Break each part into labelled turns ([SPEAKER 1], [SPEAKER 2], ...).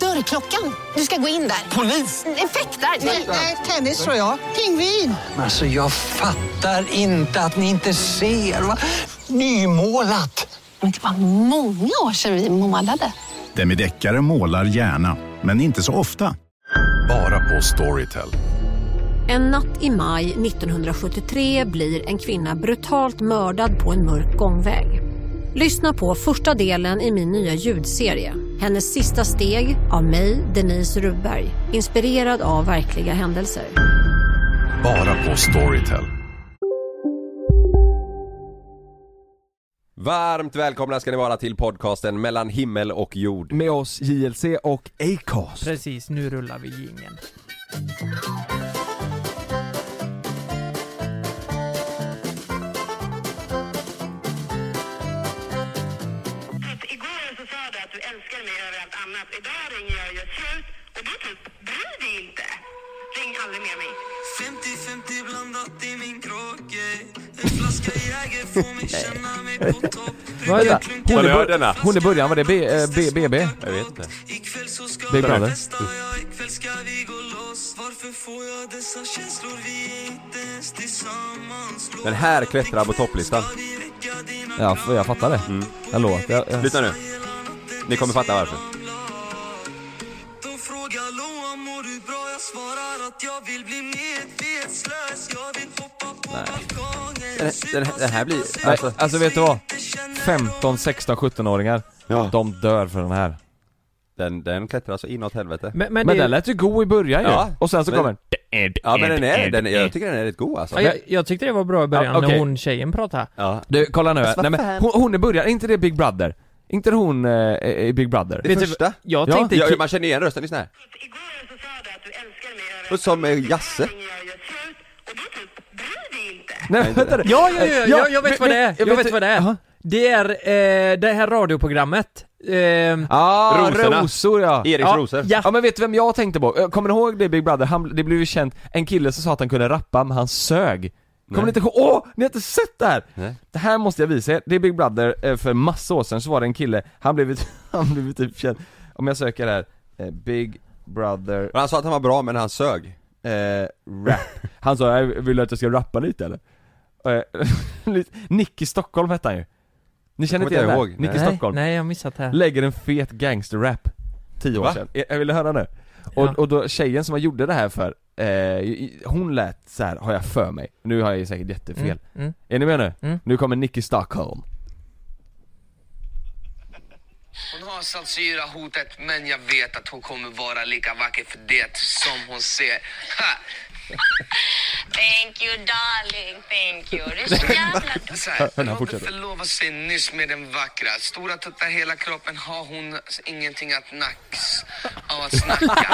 [SPEAKER 1] Dörrklockan. Du ska gå in där. Polis? Effektar? Nej, tennis tror jag. Pingvin.
[SPEAKER 2] Alltså jag fattar inte att ni inte ser. Va? Nymålat!
[SPEAKER 3] Men det var många år sedan vi målade.
[SPEAKER 4] Demideckare målar gärna, men inte så ofta.
[SPEAKER 5] Bara på Storytel.
[SPEAKER 6] En natt i maj 1973 blir en kvinna brutalt mördad på en mörk gångväg. Lyssna på första delen i min nya ljudserie. Hennes sista steg av mig, Denise Rubberg. Inspirerad av verkliga händelser.
[SPEAKER 5] Bara på Storytel.
[SPEAKER 7] Varmt välkomna ska ni vara till podcasten mellan himmel och jord.
[SPEAKER 8] med oss JLC och Acast.
[SPEAKER 9] Precis, nu rullar vi jingeln.
[SPEAKER 10] Igår så sa du att du älskar mig över allt annat. Idag ringer jag och gör slut och du typ bryr dig inte. Ring aldrig mer mig. 50-50 blandat i min krage. En flaska Jäger får mig känna mig på topp.
[SPEAKER 8] Vad är det?
[SPEAKER 7] Har
[SPEAKER 8] Hon,
[SPEAKER 7] ni
[SPEAKER 8] i
[SPEAKER 7] hört
[SPEAKER 8] bör-
[SPEAKER 7] denna?
[SPEAKER 8] hon i början, var det B, eh, B, BB?
[SPEAKER 7] Jag vet inte.
[SPEAKER 10] Ikväll så ska
[SPEAKER 8] Big
[SPEAKER 10] jag,
[SPEAKER 8] Brother?
[SPEAKER 10] ikväll ska vi gå loss. Varför får jag dessa känslor? Vi är inte ens tillsammans.
[SPEAKER 7] Den här klättrar på topplistan.
[SPEAKER 8] Ja, f- jag fattar det. Jag lovar. Jag, eh. jag...
[SPEAKER 7] Mm. Lyssna nu. Ni kommer fatta varför.
[SPEAKER 10] De frågar Loa mår du bra? Jag svarar att jag vill bli medvetslös. Jag vill hoppa på balkongen.
[SPEAKER 7] Den, den, den här blir...
[SPEAKER 8] Nej,
[SPEAKER 7] Alltså,
[SPEAKER 8] alltså vet du vad? 15, 16, 17-åringar.
[SPEAKER 7] Ja.
[SPEAKER 8] De dör för den här.
[SPEAKER 7] den, den klättrar så inåt helvete.
[SPEAKER 9] Men, men,
[SPEAKER 8] Men
[SPEAKER 9] det,
[SPEAKER 8] den lät ju god i början ju.
[SPEAKER 7] Ja,
[SPEAKER 8] Och sen så
[SPEAKER 7] men-
[SPEAKER 8] kommer den.
[SPEAKER 7] Ja men den är, den, är- jag tycker den är rätt god alltså.
[SPEAKER 9] ja, jag, jag tyckte det var bra i början
[SPEAKER 8] Ja, okej.
[SPEAKER 9] när hon tjejen pratade.
[SPEAKER 7] Ja.
[SPEAKER 8] Du, kolla nu.
[SPEAKER 7] Alltså, vad
[SPEAKER 8] Nej,
[SPEAKER 7] fan?
[SPEAKER 8] men, hon, hon i början, är inte det Big Brother? Inte hon eh, i Big Brother?
[SPEAKER 7] Det första?
[SPEAKER 9] Jag
[SPEAKER 8] Ja.
[SPEAKER 9] tänkte...
[SPEAKER 7] Ja,
[SPEAKER 9] ki-
[SPEAKER 7] man känner igen rösten, lyssna här.
[SPEAKER 10] Igår så sa du att du älskar mig över
[SPEAKER 7] Och som eh, Jasse.
[SPEAKER 10] ringer jag och gör slut och du typ bryr dig inte.
[SPEAKER 8] Nej, vänta nu.
[SPEAKER 9] Ja, ja, ja, ja, jag, jag vet
[SPEAKER 8] men-
[SPEAKER 9] vad det är.
[SPEAKER 8] men-
[SPEAKER 9] Jag vet vad det är.
[SPEAKER 8] Jaha.
[SPEAKER 9] Det är eh, det här radioprogrammet. Ehm,
[SPEAKER 8] Ah,
[SPEAKER 7] Rosorna.
[SPEAKER 8] rosor ja.
[SPEAKER 7] Eriks
[SPEAKER 9] Ja,
[SPEAKER 7] rosor.
[SPEAKER 9] ja.
[SPEAKER 8] Ja men vet du vem jag tänkte på? Eh, Kommer ni ihåg det Big Brother? Han, det blev ju känt, en kille som sa att han kunde rappa men han sög Kommer ni inte ihåg? Åh! Ni har inte sett det här!
[SPEAKER 7] Nej.
[SPEAKER 8] Det här måste jag visa er, det är Big Brother, eh, för massa år sedan så var det en kille, han blev, han blev typ känd Om jag söker här, eh, Big Brother
[SPEAKER 7] Men han sa att han var bra men han sög.
[SPEAKER 8] eh, rap Han sa, "Jag vill du att jag ska rappa lite eller? Eh, Nicky Stockholm hette han ju Ni känner
[SPEAKER 7] kommer
[SPEAKER 8] inte igen
[SPEAKER 7] inte
[SPEAKER 8] det här?
[SPEAKER 7] ihåg.
[SPEAKER 8] Nicky
[SPEAKER 7] Nej.
[SPEAKER 8] Stockholm
[SPEAKER 9] Nej, jag har missat det här.
[SPEAKER 8] lägger en fet gangsterrap Tio år
[SPEAKER 7] Va?
[SPEAKER 8] sedan, Jag- jag ville höra nu och,
[SPEAKER 9] Ja.
[SPEAKER 8] och då tjejen som jag gjorde det här för, eh, i- hon lät så här har jag för mig, nu har jag ju säkert jättefel
[SPEAKER 9] Mm, mm.
[SPEAKER 8] Är ni med nu?
[SPEAKER 9] Mm.
[SPEAKER 8] Nu kommer Nicky Stockholm
[SPEAKER 10] Hon har salsyra hotet men jag vet att hon kommer vara lika vacker för det som hon ser. Ha!
[SPEAKER 3] Thank you darling, thank you. Du är så jävla
[SPEAKER 10] Så här,
[SPEAKER 8] den här
[SPEAKER 10] Robert
[SPEAKER 8] fortsätter.
[SPEAKER 10] förlovade sig nyss med den vackra. Stora tuttar hela kroppen har hon ingenting att nacks av att snacka.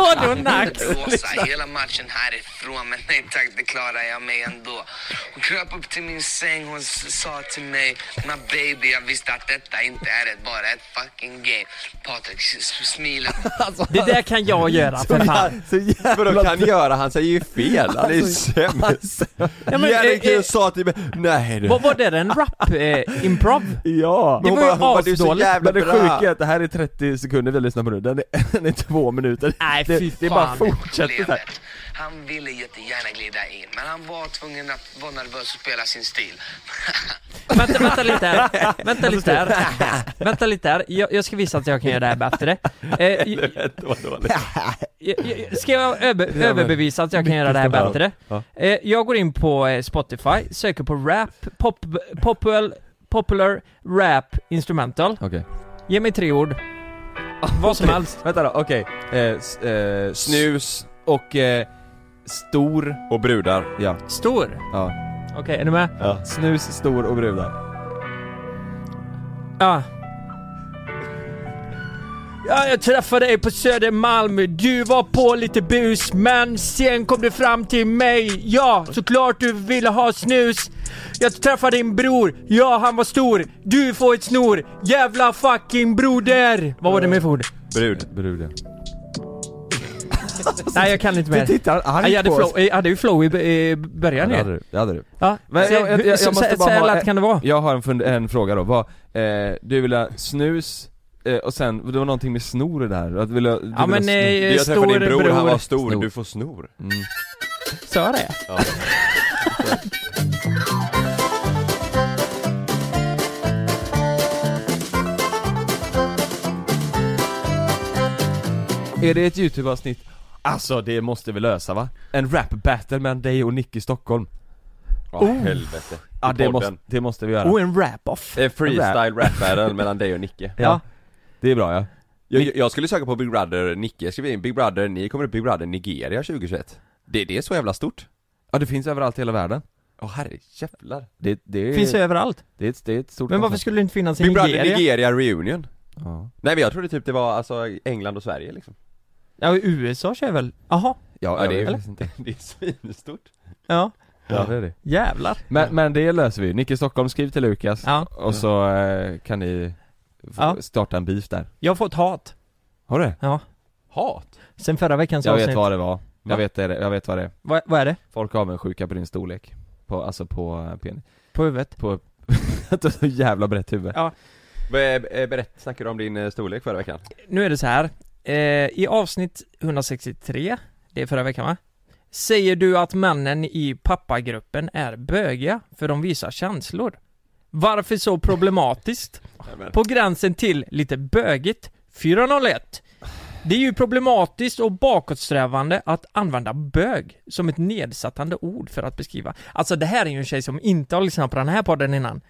[SPEAKER 9] Vadå nacks?
[SPEAKER 10] Rosa hela matchen härifrån men nej tack det klarar jag mig ändå. Hon kröp upp till min säng hon s- sa till mig My baby jag visste att detta inte är ett, bara ett fucking game. Patrik s- smiler.
[SPEAKER 9] Det där kan jag göra för fan.
[SPEAKER 8] alltså. Så
[SPEAKER 7] Vadå
[SPEAKER 8] jävla Alltså,
[SPEAKER 7] kan göra? Han säger ju fel, han är ju sämst.
[SPEAKER 9] men,
[SPEAKER 7] Jerry
[SPEAKER 9] eh,
[SPEAKER 7] Kruse
[SPEAKER 9] eh,
[SPEAKER 7] sa till mig, nej du.
[SPEAKER 9] Vad var det? En rap-improv?
[SPEAKER 8] Ja!
[SPEAKER 9] Det
[SPEAKER 7] Hon
[SPEAKER 9] var ju
[SPEAKER 7] bara, hon bara, du är så
[SPEAKER 9] asdåligt,
[SPEAKER 7] jävla
[SPEAKER 8] Men det
[SPEAKER 7] bra.
[SPEAKER 8] sjuka är att det här är 30 sekunder vi lyssnar på nu, den är, den är två minuter
[SPEAKER 9] Nej,
[SPEAKER 8] det,
[SPEAKER 9] fy
[SPEAKER 8] det är bara
[SPEAKER 9] fan.
[SPEAKER 8] fortsätter så här.
[SPEAKER 10] Problemet. Han ville jättegärna glida in men han var tvungen att vara nervös och spela sin stil.
[SPEAKER 9] Vänta, vänta lite här. Vänta lite här. Vänta lite här. Jag, jag ska visa att jag kan göra det här bättre. Eh, j-
[SPEAKER 7] Helvete vad dåligt.
[SPEAKER 9] j- j- ska jag över, överbevisa att jag kan göra det här bättre? Eh, jag går in på eh, Spotify, söker på rap, pop, popular, popular rap instrumental.
[SPEAKER 8] Okej,
[SPEAKER 9] Ge mig tre ord. Vad som helst.
[SPEAKER 8] vänta då, okej eh, s- eh, Snus
[SPEAKER 7] Snus
[SPEAKER 8] och eh, stor,
[SPEAKER 7] och brudar.
[SPEAKER 8] ja,
[SPEAKER 9] Stor.
[SPEAKER 8] ja
[SPEAKER 9] Okej, är ni med?
[SPEAKER 7] Ja.
[SPEAKER 8] Snus, stor och brudar
[SPEAKER 9] Ja.
[SPEAKER 8] Ja, jag träffade dig på Södermalm. Du var på lite bus, men sen kom du fram till mig. Ja, såklart du ville ha snus. Jag träffade din bror. Ja, han var stor. Du får ett snor. Jävla fucking broder! Vad var det med för ord?
[SPEAKER 2] Brud. Brud ja.
[SPEAKER 8] Nej, jag kan inte mer.
[SPEAKER 2] Du tittar argt
[SPEAKER 8] jag, hade
[SPEAKER 2] på oss.
[SPEAKER 8] flow, jag hade ju flow i, b- i
[SPEAKER 2] Ja,
[SPEAKER 8] början
[SPEAKER 2] det
[SPEAKER 8] ju.
[SPEAKER 2] hade du. Det hade du.
[SPEAKER 8] Ja,
[SPEAKER 2] Men
[SPEAKER 8] så,
[SPEAKER 2] jag, jag, jag,
[SPEAKER 8] hur- så,
[SPEAKER 2] måste
[SPEAKER 8] så,
[SPEAKER 2] bara
[SPEAKER 8] så här
[SPEAKER 2] ha
[SPEAKER 8] lätt kan det vara.
[SPEAKER 2] Jag har en, fund, en fråga då, vad, eh, du vill ha snus, eh, och sen, det var någonting med snor i det här, att du vill ha, du
[SPEAKER 8] Ja,
[SPEAKER 2] vill
[SPEAKER 8] men,
[SPEAKER 2] ha
[SPEAKER 8] eh,
[SPEAKER 2] snor.
[SPEAKER 8] Jag träffade din bror, Storebror. han var
[SPEAKER 7] stor, du får snor.
[SPEAKER 2] Mm.
[SPEAKER 8] Sa jag det?
[SPEAKER 2] Är det ett youtube-avsnitt? Alltså det måste vi lösa va? En rap-battle mellan dig och Nick i Stockholm
[SPEAKER 7] Ja,
[SPEAKER 8] Oh.
[SPEAKER 7] helvete. I
[SPEAKER 2] Ja det
[SPEAKER 7] podden.
[SPEAKER 2] måste, det måste vi göra
[SPEAKER 8] Och Oh, en rap-off.
[SPEAKER 7] Det är freestyle rap battle mellan dig och Nicke.
[SPEAKER 2] Ja Det är bra ja
[SPEAKER 7] Jag, jag skulle söka på Big Brother Nicke, jag skriver in Big Brother, ni kommer upp Big Brother Nigeria 2021. Det, det är så jävla stort.
[SPEAKER 2] Ja det finns överallt i hela världen
[SPEAKER 7] Åh herrejävlar.
[SPEAKER 2] Det, det, är,
[SPEAKER 8] Finns
[SPEAKER 2] det,
[SPEAKER 8] överallt.
[SPEAKER 2] är ett, det är ett stort
[SPEAKER 8] Men varför
[SPEAKER 2] koncept.
[SPEAKER 8] skulle det inte finnas i
[SPEAKER 7] Big Brother
[SPEAKER 8] Nigeria?
[SPEAKER 7] Nigeria reunion.
[SPEAKER 2] ja.
[SPEAKER 7] Nej men jag trodde typ det var alltså England och Sverige liksom.
[SPEAKER 8] Ja, i USA kör väl? Jaha.
[SPEAKER 2] Ja,
[SPEAKER 7] Ja, det
[SPEAKER 2] jag
[SPEAKER 7] är-
[SPEAKER 2] vet inte.
[SPEAKER 7] Det är svinstort.
[SPEAKER 8] Ja.
[SPEAKER 2] ja det är det
[SPEAKER 8] Jävlar.
[SPEAKER 2] Men, men det löser vi ju, Nick i Stockholm, skriv till Lukas
[SPEAKER 8] Ja.
[SPEAKER 2] och så eh, kan ni få
[SPEAKER 8] Ja.
[SPEAKER 2] starta en beef där
[SPEAKER 8] Jag har fått hat.
[SPEAKER 2] Har du det?
[SPEAKER 8] Ja.
[SPEAKER 7] Hat?
[SPEAKER 8] Sen förra veckans
[SPEAKER 2] Jag
[SPEAKER 8] avsnitt.
[SPEAKER 2] vet vad det var, jag vet, det, jag vet vad det är
[SPEAKER 8] Vad, vad är det?
[SPEAKER 2] Folk är avundsjuka på din storlek, på, alltså på eh, penis,
[SPEAKER 8] På huvudet?
[SPEAKER 2] på att du har så jävla brett huvud
[SPEAKER 8] Ja.
[SPEAKER 7] Be- eh, Berätta, snackade du om din eh, storlek förra veckan?
[SPEAKER 8] Nu är det så här. Eh, I avsnitt 163, det är förra veckan va? Säger du att männen i pappagruppen är bögiga för de visar känslor? Varför så problematiskt? På gränsen till lite bögigt 401 Det är ju problematiskt och bakåtsträvande att använda bög som ett nedsättande ord för att beskriva Alltså det här är ju en tjej som inte har lyssnat på den här podden innan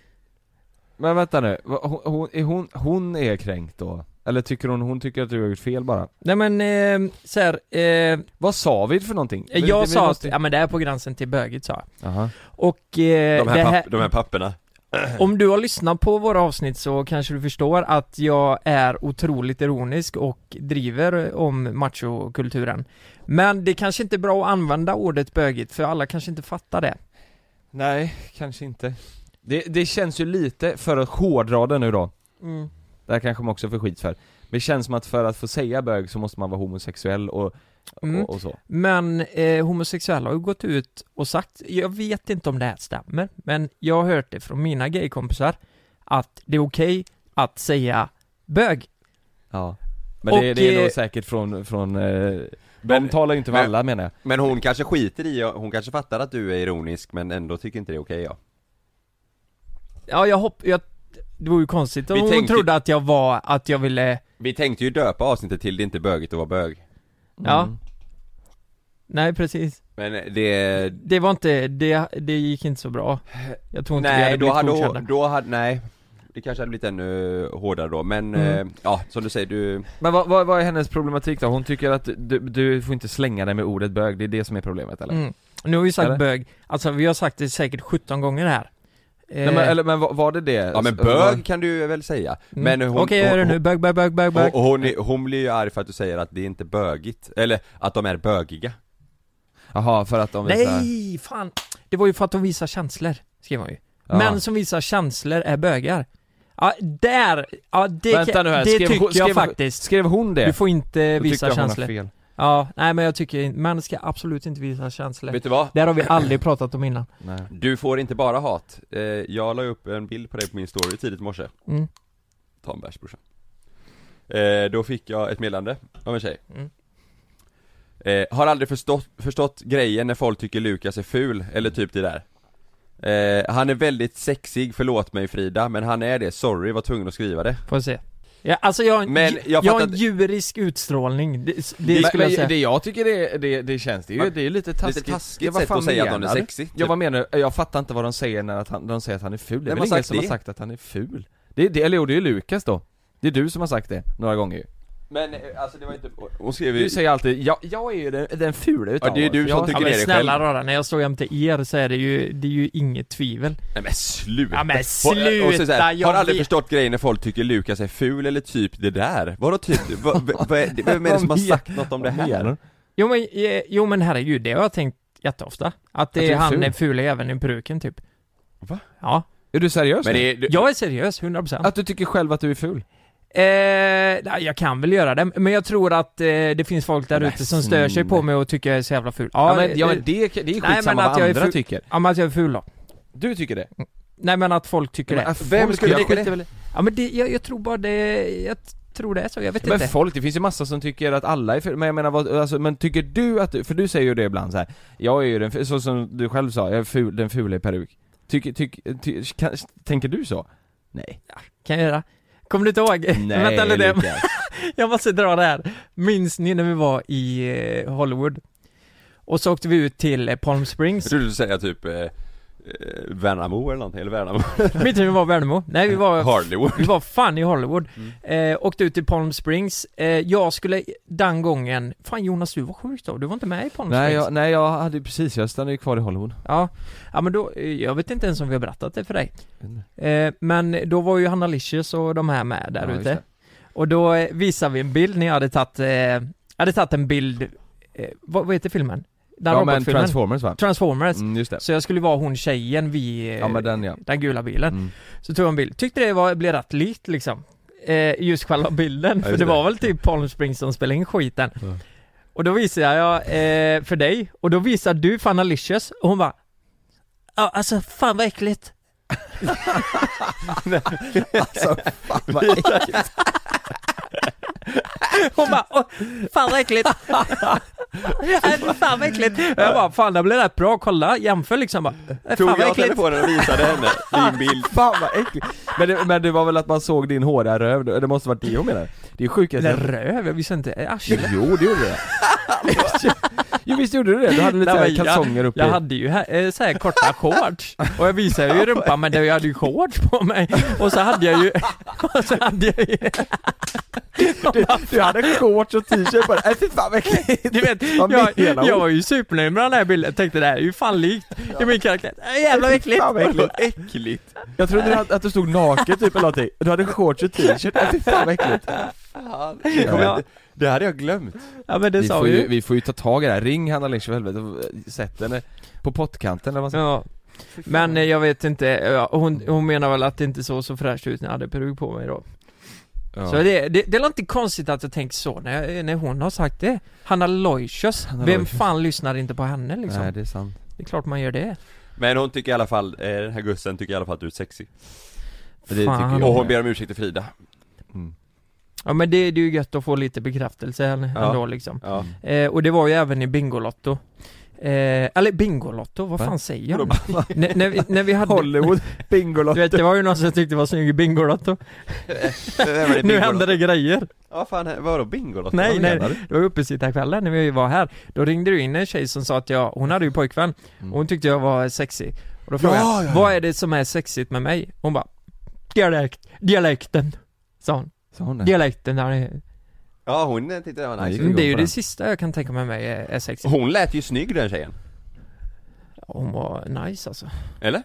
[SPEAKER 2] Men vänta nu, vad- hon, hon, är hon, hon är kränkt då? Eller tycker hon, hon tycker att du har gjort fel bara?
[SPEAKER 8] Nej men eh, så här, eh,
[SPEAKER 2] Vad sa vi för någonting? Vi-
[SPEAKER 8] jag
[SPEAKER 2] vi
[SPEAKER 8] sa att,
[SPEAKER 2] måste-
[SPEAKER 8] ja men det är på gränsen till bögigt sa jag
[SPEAKER 2] Jaha.
[SPEAKER 8] Och eh,
[SPEAKER 7] De här,
[SPEAKER 8] det här,
[SPEAKER 7] papp- de här papperna.
[SPEAKER 8] om du har lyssnat på våra avsnitt så kanske du förstår att jag är otroligt ironisk och driver om machokulturen. Men det kanske inte är bra att använda ordet bögigt för alla kanske inte fattar det.
[SPEAKER 2] Nej, kanske inte det, det känns ju lite, för att hårdra det nu då
[SPEAKER 8] Mm.
[SPEAKER 2] Det här kanske man också får skit för Det känns som att för att få säga bög så måste man vara homosexuell och,
[SPEAKER 8] Mm.
[SPEAKER 2] och, och så
[SPEAKER 8] Men eh, homosexuella har ju gått ut och sagt, jag vet inte om det här stämmer, men jag har hört det från mina gaykompisar att det är okej att säga bög.
[SPEAKER 2] Ja Men det,
[SPEAKER 8] Och,
[SPEAKER 2] det är
[SPEAKER 8] eh,
[SPEAKER 2] nog säkert från, från eh,
[SPEAKER 7] Men-
[SPEAKER 2] De talar ju inte för
[SPEAKER 7] men-
[SPEAKER 2] alla menar jag
[SPEAKER 7] Men hon kanske skiter i, hon kanske fattar att du är ironisk men ändå tycker inte det är okej ja.
[SPEAKER 8] Ja, jag hopp... Jag, det vore ju konstigt om
[SPEAKER 7] Vi
[SPEAKER 8] hon
[SPEAKER 7] tänkte-
[SPEAKER 8] trodde att jag var, att jag ville
[SPEAKER 7] Vi tänkte ju döpa avsnittet till det är inte bögigt att vara bög.
[SPEAKER 8] Ja
[SPEAKER 2] Mm.
[SPEAKER 8] Nej precis,
[SPEAKER 7] Men eh, det...
[SPEAKER 8] det var inte, det, det gick inte så bra Jag tror inte vi
[SPEAKER 7] Nej,
[SPEAKER 8] hade
[SPEAKER 7] då
[SPEAKER 8] blivit
[SPEAKER 7] hade,
[SPEAKER 8] godkända
[SPEAKER 7] hon- då hade, nej. Det kanske hade blivit ännu hårdare då men,
[SPEAKER 8] Mm.
[SPEAKER 7] eh, ja som du säger du,
[SPEAKER 2] Men vad, vad, vad är hennes problematik då? Hon tycker att du, du får inte slänga dig med ordet bög, det är det som är problemet eller?
[SPEAKER 8] mm. Nu har vi sagt
[SPEAKER 2] Eller?
[SPEAKER 8] bög, alltså vi har sagt det säkert 17 gånger här eh,
[SPEAKER 2] Nej men, eller, men var, var det det?
[SPEAKER 7] Alltså, ja men bög kan du väl säga? Men
[SPEAKER 8] mm.
[SPEAKER 7] hon,
[SPEAKER 8] Okej, jag gör det nu,
[SPEAKER 7] hon,
[SPEAKER 8] bög, bög, bög, bög,
[SPEAKER 7] hon,
[SPEAKER 8] bög
[SPEAKER 7] hon, hon, är- hon blir ju arg för att du säger att det är inte bögigt, eller att de är bögiga.
[SPEAKER 2] Jaha, för att de visar-
[SPEAKER 8] Nej, fan! Det var ju för att de visar känslor, skrev hon ju
[SPEAKER 2] Ja.
[SPEAKER 8] Män som visar känslor är bögar Ja, där! Ja, det,
[SPEAKER 2] Vänta nu här,
[SPEAKER 8] det
[SPEAKER 2] skrev,
[SPEAKER 8] tycker
[SPEAKER 2] hon- skrev,
[SPEAKER 8] jag faktiskt
[SPEAKER 2] Skrev hon det?
[SPEAKER 8] Du får inte
[SPEAKER 2] Då tyckte
[SPEAKER 8] visa
[SPEAKER 2] jag hon har
[SPEAKER 8] känslor
[SPEAKER 2] fel.
[SPEAKER 8] Ja, nej men jag tycker inte- män ska absolut inte visa känslor
[SPEAKER 7] Vet du vad?
[SPEAKER 8] Det här har vi aldrig pratat om innan.
[SPEAKER 2] Nej.
[SPEAKER 7] Du får inte bara hat. Eh, jag la upp en bild på dig på min story tidigt i morse.
[SPEAKER 8] Mm.
[SPEAKER 7] Ta en bärs brorsan. Eh, då fick jag ett meddelande av en tjej.
[SPEAKER 8] Mm.
[SPEAKER 7] Eh, har aldrig förstått, förstått grejen när folk tycker Lukas är ful, eller typ det där. Eh, han är väldigt sexig, förlåt mig Frida, men han är det, sorry, var tvungen att skriva det.
[SPEAKER 8] Får jag se. Ja, alltså jag, har en-
[SPEAKER 7] Men jag
[SPEAKER 8] jag, har en
[SPEAKER 7] fattar-
[SPEAKER 8] djurisk utstrålning, det, det
[SPEAKER 2] Det,
[SPEAKER 8] skulle jag
[SPEAKER 2] men,
[SPEAKER 8] säga.
[SPEAKER 2] det jag tycker det, det, det känns, det är ju det är lite taskigt
[SPEAKER 7] taskigt
[SPEAKER 2] Ja, vad
[SPEAKER 7] sätt
[SPEAKER 2] fan
[SPEAKER 7] att säga att
[SPEAKER 2] menar
[SPEAKER 7] någon är
[SPEAKER 2] du?
[SPEAKER 7] sexig, typ.
[SPEAKER 2] Ja vad menar du? Jag fattar inte vad de säger när att han, de säger att han är ful, det är
[SPEAKER 7] Vem
[SPEAKER 2] väl
[SPEAKER 7] har
[SPEAKER 2] ingen
[SPEAKER 7] sagt
[SPEAKER 2] som har
[SPEAKER 7] det?
[SPEAKER 2] sagt att han är ful? Det, är- det, eller jo, det är ju Lukas då Det är du som har sagt det, några gånger ju
[SPEAKER 7] Men eh, alltså det var inte... Hon skrev ju...
[SPEAKER 2] Du säger alltid, jag, jag är ju den, den fula utav
[SPEAKER 7] Ja, det är
[SPEAKER 2] oss."
[SPEAKER 7] du som
[SPEAKER 2] Jag-
[SPEAKER 7] tycker
[SPEAKER 8] men
[SPEAKER 7] det är
[SPEAKER 8] snälla
[SPEAKER 7] själv.
[SPEAKER 8] rara, när jag står jämte er så är det ju, det är ju inget tvivel
[SPEAKER 7] Nej men sluta!
[SPEAKER 8] Ja, men
[SPEAKER 7] Och- och så så
[SPEAKER 8] sluta,
[SPEAKER 7] här,
[SPEAKER 8] jag
[SPEAKER 7] har aldrig
[SPEAKER 8] vet-
[SPEAKER 7] förstått grejen när folk tycker Lukas är ful eller typ det där? Vadå typ? Vad, vad, vad, är- vem är det som har
[SPEAKER 8] Vad
[SPEAKER 7] sagt något om det
[SPEAKER 2] Vad menar
[SPEAKER 7] här?
[SPEAKER 2] du?
[SPEAKER 8] Jo men, eh, jo men herregud, det har jag tänkt jätteofta Att det
[SPEAKER 2] Att du
[SPEAKER 8] är
[SPEAKER 2] är
[SPEAKER 8] han
[SPEAKER 2] ful.
[SPEAKER 8] är ful även i peruken typ
[SPEAKER 7] Va?
[SPEAKER 8] Ja
[SPEAKER 2] Är du seriös
[SPEAKER 7] Men
[SPEAKER 2] nu?
[SPEAKER 7] det är, du,
[SPEAKER 8] Jag är seriös, 100%
[SPEAKER 2] Att du tycker själv att du är ful?
[SPEAKER 8] Eh, nej, jag kan väl göra det, men jag tror att eh, det finns folk där ute som stör sig på mig och tycker jag är så jävla ful.
[SPEAKER 2] Ja, men, ja,
[SPEAKER 8] eh,
[SPEAKER 2] men det, det är ju
[SPEAKER 8] nej, men
[SPEAKER 2] skitsamma
[SPEAKER 8] att
[SPEAKER 2] vad
[SPEAKER 8] jag är
[SPEAKER 2] andra
[SPEAKER 8] ful-
[SPEAKER 2] tycker
[SPEAKER 8] ja, men att jag är ful då.
[SPEAKER 2] Du tycker det?
[SPEAKER 8] Nej men att folk tycker
[SPEAKER 2] Men,
[SPEAKER 8] det.
[SPEAKER 2] folk-
[SPEAKER 7] vem skulle
[SPEAKER 2] jag
[SPEAKER 7] tycka
[SPEAKER 2] skiter
[SPEAKER 7] det?
[SPEAKER 2] väl i-
[SPEAKER 8] Ja men det, jag, jag tror bara det, jag t- tror det är så, jag vet
[SPEAKER 2] Men
[SPEAKER 8] inte.
[SPEAKER 2] folk, det finns ju massa som tycker att alla är fula, men jag menar vad, alltså, men tycker du att du, för du säger ju det ibland så här. jag är ju den, f- så som du själv sa, jag är ful, den fula i peruk Tycker, tycker, ty, kan, tänker du så? Nej
[SPEAKER 8] Kan jag göra? Kommer du inte ihåg? Vänta lite,
[SPEAKER 2] Lukas.
[SPEAKER 8] jag måste dra det här. Minns ni när vi var i eh, Hollywood? Och så åkte vi ut till eh, Palm
[SPEAKER 7] jag
[SPEAKER 8] Springs,
[SPEAKER 7] trodde du säga typ eh, eh, Värnamo eller någonting, eller Värnamo?
[SPEAKER 8] mitt i vi var i Värnamo. Nej vi var
[SPEAKER 7] Harlewood?
[SPEAKER 8] Vi var fan i Hollywood.
[SPEAKER 2] Mm.
[SPEAKER 8] Eh, åkte ut till Palm Springs. Eh, jag skulle den gången, fan Jonas du var sjuk då, du var inte med i Palm
[SPEAKER 2] Nej
[SPEAKER 8] Springs?
[SPEAKER 2] jag, nej jag hade ju precis, jag stannade ju kvar i Hollywood
[SPEAKER 8] Ja. ja, men då, eh, jag vet inte ens om vi har berättat det för dig.
[SPEAKER 2] Mm.
[SPEAKER 8] Eh, men då var ju Hanna Licious och de här med där
[SPEAKER 2] Ja, just
[SPEAKER 8] ute.
[SPEAKER 2] det.
[SPEAKER 8] Och då eh, visade vi en bild när jag hade tagit, eh, jag hade tagit en bild, eh, vad, vad heter filmen? Den
[SPEAKER 2] Ja men
[SPEAKER 8] robotfilmen?
[SPEAKER 2] Transformers va?
[SPEAKER 8] Transformers.
[SPEAKER 2] Mm, just det
[SPEAKER 8] Så jag skulle vara hon tjejen vid eh,
[SPEAKER 2] Ja men den ja
[SPEAKER 8] den gula bilen.
[SPEAKER 2] Mm.
[SPEAKER 8] Så tog jag en bild, tyckte det var, blev rätt likt liksom eh, Just själva bilden, för
[SPEAKER 7] just
[SPEAKER 8] det
[SPEAKER 7] det.
[SPEAKER 8] var väl typ Palm Springs som spelade in skiten Och då visade jag eh, för dig, och då visade du för Analicious, och hon bara Ja alltså fan vad äckligt
[SPEAKER 2] Alltså fan vad äckligt.
[SPEAKER 8] Hon bara "Åh, fan vad äckligt Äh, Fan vad äckligt Och Jag bara fan det blev rätt bra, kolla, jämför liksom bara "Äh,
[SPEAKER 7] Tog
[SPEAKER 8] Fan vad
[SPEAKER 7] jag
[SPEAKER 8] äckligt
[SPEAKER 7] telefonen och visade henne din bild?
[SPEAKER 2] Fan vad äckligt. Men det, men det var väl att man såg din hårda röv, det måste varit det hon menar? Det är
[SPEAKER 8] Eller
[SPEAKER 2] sjukaste
[SPEAKER 8] röv, jag visste inte, äh, arslet
[SPEAKER 2] Jo det gjorde det Jo visst gjorde du det? Du hade lite
[SPEAKER 8] Nej,
[SPEAKER 2] såhär
[SPEAKER 8] men jag-
[SPEAKER 2] kalsonger uppe
[SPEAKER 8] Jag
[SPEAKER 2] i.
[SPEAKER 8] hade ju här, eh, så här korta shorts och jag visade ju rumpan men det- jag hade ju shorts på mig och så hade jag ju, och så hade jag ju,
[SPEAKER 2] Du, du hade shorts och t-shirt på dig, nej fy fan vad äckligt!
[SPEAKER 8] du vet,
[SPEAKER 2] Vad
[SPEAKER 8] jag,
[SPEAKER 2] menar hon?
[SPEAKER 8] jag var ju supernöjd med den här bilden, tänkte det här är ju fan likt, det är min karaktär, Äh, jävla vad äckligt!
[SPEAKER 2] Fan vad äckligt.
[SPEAKER 7] Äckligt!
[SPEAKER 2] Jag trodde att, att du stod naken typ eller någonting, du hade shorts och t-shirt, nej fy fan vad äckligt!
[SPEAKER 7] Kommer
[SPEAKER 8] Ja.
[SPEAKER 7] inte- Det hade jag glömt.
[SPEAKER 8] Ja men det
[SPEAKER 2] Vi
[SPEAKER 8] sa
[SPEAKER 2] får,
[SPEAKER 8] vi
[SPEAKER 2] ju,
[SPEAKER 8] ju.
[SPEAKER 2] vi får ju ta tag i det här, ring Hanna Lynch för helvete, sätt henne på pottkanten eller vad man säger
[SPEAKER 8] Ja. Men eh, jag vet inte, ja, hon, hon menar väl att det inte såg så fräscht ut när jag hade peruk på mig då. Så det, det, det är väl inte konstigt att jag tänker så när, jag, när hon har sagt det. Hanna Loisius,
[SPEAKER 2] Hanna
[SPEAKER 8] vem
[SPEAKER 2] Aloysius.
[SPEAKER 8] fan lyssnar inte på henne liksom?
[SPEAKER 2] Nej det är sant
[SPEAKER 8] Det är klart man gör det.
[SPEAKER 7] Men hon tycker i alla fall, eh, den här gussen tycker i alla fall att du är sexig.
[SPEAKER 2] Men det
[SPEAKER 8] Fan.
[SPEAKER 2] tycker
[SPEAKER 7] Och
[SPEAKER 2] jag
[SPEAKER 7] hon
[SPEAKER 2] med.
[SPEAKER 7] ber om ursäkt till Frida.
[SPEAKER 8] Ja men det, det är ju gött att få lite bekräftelse ändå
[SPEAKER 7] Ja.
[SPEAKER 8] ändå, liksom.
[SPEAKER 7] Ja.
[SPEAKER 2] Mm.
[SPEAKER 8] Eh, och det var ju även i Bingolotto. Eh, eller Bingolotto, vad
[SPEAKER 2] Va?
[SPEAKER 8] fan säger jag? N- när, vi, när vi hade...
[SPEAKER 2] Hollywood,
[SPEAKER 8] Du vet,
[SPEAKER 2] Bingolotto
[SPEAKER 8] det var ju någon som tyckte det var snygg i Bingolotto. Nu hände det grejer.
[SPEAKER 7] Ja fan, vadå Bingolotto?
[SPEAKER 8] Nej,
[SPEAKER 7] Vad
[SPEAKER 8] nej.
[SPEAKER 7] menar du?
[SPEAKER 8] Det var uppesittarkvällen när vi var här. Då ringde du in en tjej som sa att jag, hon hade ju pojkvän,
[SPEAKER 2] Mm.
[SPEAKER 8] och hon tyckte jag var sexig. Och då frågade jag, vad är det som är sexigt med mig? Hon bara, dialekt, dialekten, sa hon.
[SPEAKER 2] Sa hon det?
[SPEAKER 8] Dialekten, där är...
[SPEAKER 7] Ja hon eh, tyckte det var nice.
[SPEAKER 2] vi
[SPEAKER 8] Men det är
[SPEAKER 2] gå
[SPEAKER 8] ju
[SPEAKER 2] på
[SPEAKER 8] det
[SPEAKER 2] den.
[SPEAKER 8] sista jag kan tänka mig mig är, är sexigt.
[SPEAKER 7] Hon lät ju snygg den tjejen.
[SPEAKER 8] Hon var nice alltså.
[SPEAKER 7] Eller?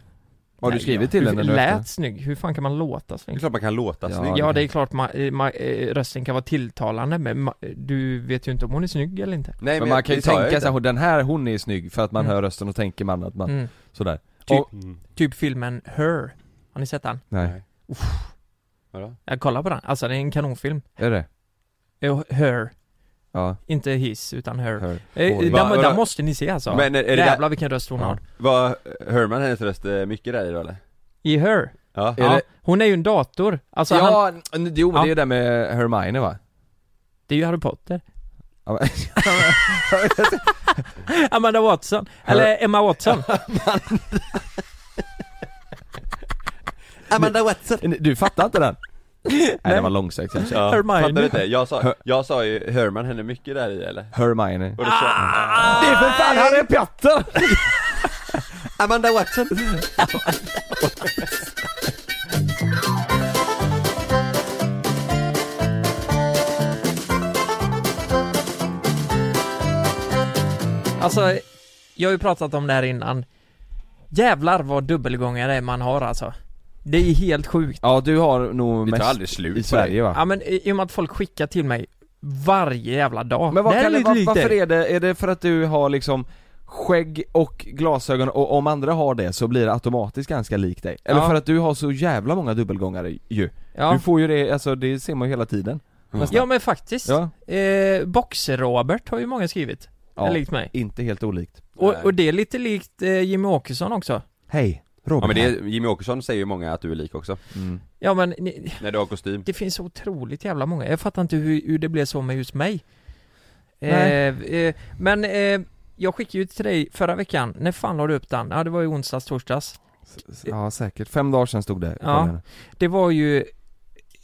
[SPEAKER 2] Har du
[SPEAKER 8] Nej,
[SPEAKER 2] skrivit
[SPEAKER 8] ja.
[SPEAKER 2] till
[SPEAKER 8] Hur-
[SPEAKER 2] henne nu efter?
[SPEAKER 8] Lät snygg, hur fan kan man låta
[SPEAKER 7] Det är
[SPEAKER 8] snygg?
[SPEAKER 7] klart man kan låta
[SPEAKER 2] Ja.
[SPEAKER 7] snygg.
[SPEAKER 8] Ja det är klart man, eh, man, eh, rösten kan vara tilltalande men ma- eh, du vet ju inte om hon är snygg eller inte.
[SPEAKER 7] Nej,
[SPEAKER 2] Men man kan ju
[SPEAKER 7] det sa jag
[SPEAKER 2] tänka
[SPEAKER 7] inte.
[SPEAKER 2] sig, den här hon är snygg för att man
[SPEAKER 8] Mm.
[SPEAKER 2] hör rösten och tänker man att man,
[SPEAKER 8] Mm.
[SPEAKER 2] sådär
[SPEAKER 8] Typ-
[SPEAKER 2] Och-
[SPEAKER 8] Typ filmen Her, har ni sett den?
[SPEAKER 2] Nej,
[SPEAKER 7] Vadå?
[SPEAKER 8] Jag kollar på den, alltså det är en kanonfilm.
[SPEAKER 2] är det?
[SPEAKER 8] Eh, Her,
[SPEAKER 2] Ja,
[SPEAKER 8] inte his utan her.
[SPEAKER 2] hör
[SPEAKER 8] Eh,
[SPEAKER 2] Oj.
[SPEAKER 8] den,
[SPEAKER 7] Va-
[SPEAKER 8] den
[SPEAKER 7] va-
[SPEAKER 8] måste ni se alltså.
[SPEAKER 7] Men är det där-
[SPEAKER 8] Jävlar vilken röst hon
[SPEAKER 2] Ja.
[SPEAKER 8] har.
[SPEAKER 7] Var Herman hennes röst eh, mycket där i då eller?
[SPEAKER 8] I Her,
[SPEAKER 7] Ja.
[SPEAKER 2] Är
[SPEAKER 8] ja,
[SPEAKER 2] det-
[SPEAKER 8] hon är ju en dator. Alltså han,
[SPEAKER 2] Ja, n- jo men
[SPEAKER 8] Ja.
[SPEAKER 2] det är ju det med Hermione va?
[SPEAKER 8] det är ju Harry Potter.
[SPEAKER 2] Ja, men-
[SPEAKER 8] Amanda Watson, eller Emma Watson.
[SPEAKER 7] Amanda Watson!
[SPEAKER 2] Du fattar inte den? Nej den var långsökt kanske
[SPEAKER 7] Ja,
[SPEAKER 8] Hermione.
[SPEAKER 7] fattar du inte? Jag sa, jag sa ju Herman henne mycket där i eller?
[SPEAKER 2] Hermione
[SPEAKER 7] Och då sa
[SPEAKER 2] Det är för fan Harry Potter!
[SPEAKER 7] Amanda Watson!
[SPEAKER 8] Alltså, jag har ju pratat om det här innan Jävlar vad dubbelgångare man har alltså Det är helt sjukt
[SPEAKER 2] Ja du har nog
[SPEAKER 8] Det tar
[SPEAKER 2] mest
[SPEAKER 8] aldrig
[SPEAKER 2] i Sverige va?
[SPEAKER 8] Ja men i i och med att folk skickar till mig varje jävla dag
[SPEAKER 2] Men vad
[SPEAKER 8] Det här
[SPEAKER 2] kan det,
[SPEAKER 8] lite
[SPEAKER 2] var,
[SPEAKER 8] likt
[SPEAKER 2] varför
[SPEAKER 8] dig.
[SPEAKER 2] är det, är det för att du har liksom skägg och glasögon och om andra har det så blir det automatiskt ganska likt dig? Eller
[SPEAKER 8] Ja.
[SPEAKER 2] för att du har så jävla många dubbelgångare ju?
[SPEAKER 8] Ja.
[SPEAKER 2] Du får ju det, alltså det ser man ju hela tiden Nästan.
[SPEAKER 8] Ja men faktiskt
[SPEAKER 2] Ja.
[SPEAKER 8] eh, Boxer-Robert har ju många skrivit
[SPEAKER 2] Ja,
[SPEAKER 8] ja. Likt mig
[SPEAKER 2] Inte helt olikt
[SPEAKER 8] och, och det är lite likt eh, Jimmy Åkesson också
[SPEAKER 2] Hej,
[SPEAKER 7] Ja
[SPEAKER 2] Robert
[SPEAKER 7] men det, är- Jimmy Åkesson säger ju många att du är lik också
[SPEAKER 8] Ja men ni,
[SPEAKER 7] När du har kostym
[SPEAKER 8] det finns otroligt jävla många Jag fattar inte hur, hur det blev så med just mig
[SPEAKER 2] Nej.
[SPEAKER 8] eh, eh, Men eh, jag skickade ju till dig förra veckan, när fan la du upp den? Ja det var ju onsdags, torsdags
[SPEAKER 2] Ja säkert, fem dagar sedan stod det
[SPEAKER 8] Ja, det var ju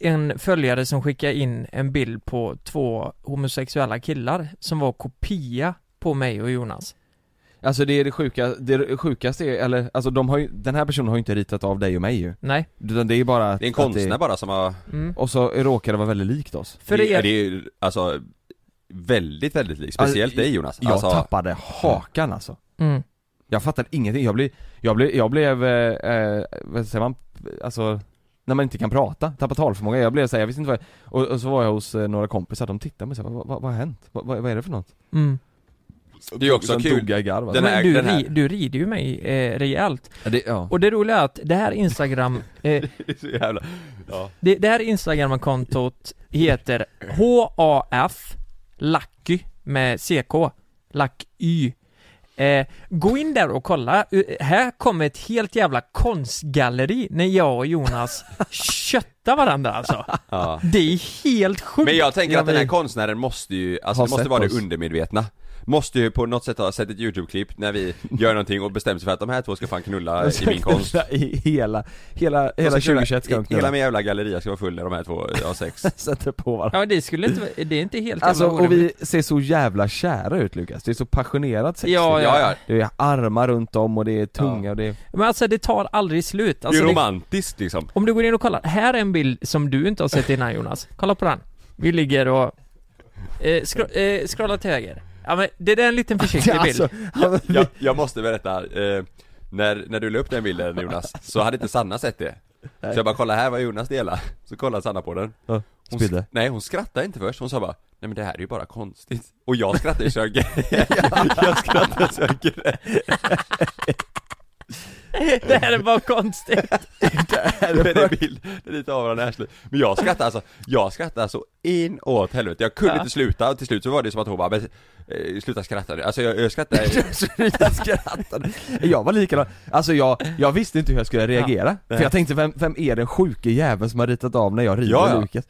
[SPEAKER 8] en följare som skickade in en bild på två homosexuella killar som var kopia på mig och Jonas.
[SPEAKER 2] Alltså det är det sjuka, det sjukaste är, eller alltså de har ju, den här personen har ju inte ritat av dig och mig ju
[SPEAKER 8] Nej.
[SPEAKER 2] Utan det är bara att,
[SPEAKER 7] Det är en
[SPEAKER 2] att
[SPEAKER 7] konstnär bara som har
[SPEAKER 8] Mm.
[SPEAKER 2] Och så råkar det vara väldigt likt oss
[SPEAKER 8] För
[SPEAKER 7] det,
[SPEAKER 8] er-
[SPEAKER 7] är- det är ju alltså Väldigt väldigt lik,
[SPEAKER 2] Alltså,
[SPEAKER 7] speciellt dig Jonas
[SPEAKER 2] Jag
[SPEAKER 7] alltså,
[SPEAKER 2] tappade hakan alltså
[SPEAKER 8] Mm.
[SPEAKER 2] Jag fattade ingenting, jag blev, jag blev, jag blev, eh, eh, vad säger man, alltså när man inte kan prata, tappar talförmåga, jag blev såhär, jag visste inte vad jag, och, och så var jag hos eh, några kompisar, de tittade på mig såhär, vad, vad, vad har hänt? Vad, vad, vad är det för något?
[SPEAKER 8] Mm.
[SPEAKER 7] Det är ju också
[SPEAKER 2] Sen
[SPEAKER 7] kul.
[SPEAKER 2] dog jag i garv alltså.
[SPEAKER 7] Den här-
[SPEAKER 8] Men du,
[SPEAKER 7] den här.
[SPEAKER 8] ri- du rider ju mig eh, rejält.
[SPEAKER 2] Ja, det, ja.
[SPEAKER 8] Och det roliga är att det här Instagram... Eh,
[SPEAKER 7] Det är så jävla, ja.
[SPEAKER 8] det, det här Instagram-kontot heter HAF Lucky med CK Lucky. Eh, gå in där och kolla. Eh, Här kommer ett helt jävla konstgalleri när jag och Jonas köttar varandra alltså.
[SPEAKER 7] Ja.
[SPEAKER 8] Det är helt sjukt.
[SPEAKER 7] Men jag tänker
[SPEAKER 8] Ja,
[SPEAKER 7] att den här
[SPEAKER 8] men-
[SPEAKER 7] konstnären måste ju, alltså
[SPEAKER 2] Har
[SPEAKER 7] det måste
[SPEAKER 2] sett
[SPEAKER 7] vara
[SPEAKER 2] oss.
[SPEAKER 7] det undermedvetna Måste ju på något sätt ha sett ett YouTube-klipp när vi gör någonting och bestämt sig för att de här två ska fan knulla i min konst
[SPEAKER 2] I hela, hela, hela
[SPEAKER 7] De ska knulla-
[SPEAKER 2] 2021 ska de
[SPEAKER 7] Hela
[SPEAKER 2] knulla, Alltså,
[SPEAKER 7] min jävla galleria ska vara full när de här två har sex
[SPEAKER 2] sätter på varandra
[SPEAKER 8] Ja det skulle inte, det är inte helt
[SPEAKER 2] Alltså
[SPEAKER 8] jävla
[SPEAKER 2] och
[SPEAKER 8] orimligt.
[SPEAKER 2] vi ser så jävla kära ut Lukas, det är så passionerat sex
[SPEAKER 8] Ja, ja.
[SPEAKER 7] ja.
[SPEAKER 2] Det är armar runt om och det är tunga och det är
[SPEAKER 8] Men alltså det tar aldrig slut.
[SPEAKER 7] Det är
[SPEAKER 8] Alltså,
[SPEAKER 7] ju
[SPEAKER 8] det-
[SPEAKER 7] romantiskt liksom
[SPEAKER 8] Om du går in och kollar, här är en bild som du inte har sett innan Jonas. Kolla på den. Vi ligger och... Eh, skro, eh, scrolla till höger. Ja men det där är en liten försiktig bild.
[SPEAKER 2] Alltså,
[SPEAKER 7] jag, jag, jag måste berätta, eh, när, när du la upp den bilden Jonas, så hade inte Sanna sett det Så jag bara kolla här vad Jonas delade, så kollade Sanna på den
[SPEAKER 2] Ja,
[SPEAKER 7] hon,
[SPEAKER 2] spydde.
[SPEAKER 7] sk- Nej hon skrattade inte först, hon sa bara Nej men det här är ju bara konstigt Och jag skrattade så jag grät. Jag skrattade så jag grät.
[SPEAKER 8] det här är bara konstigt.
[SPEAKER 7] Det är en bild, det är lite av varandra i arslet. Men jag skrattade alltså, jag skrattade så inåt helvete Jag kunde
[SPEAKER 8] Ja.
[SPEAKER 7] inte sluta, och till slut så var det som att hon bara "Men, eh, Sluta skratta nu, alltså jag, jag skrattade
[SPEAKER 2] Jag skrattade. Jag var likadan, alltså jag, jag visste inte hur jag skulle reagera. För jag tänkte, vem, vem är den sjuke jäveln som har ritat av när jag rider
[SPEAKER 7] Ja, ja.
[SPEAKER 2] Lukas?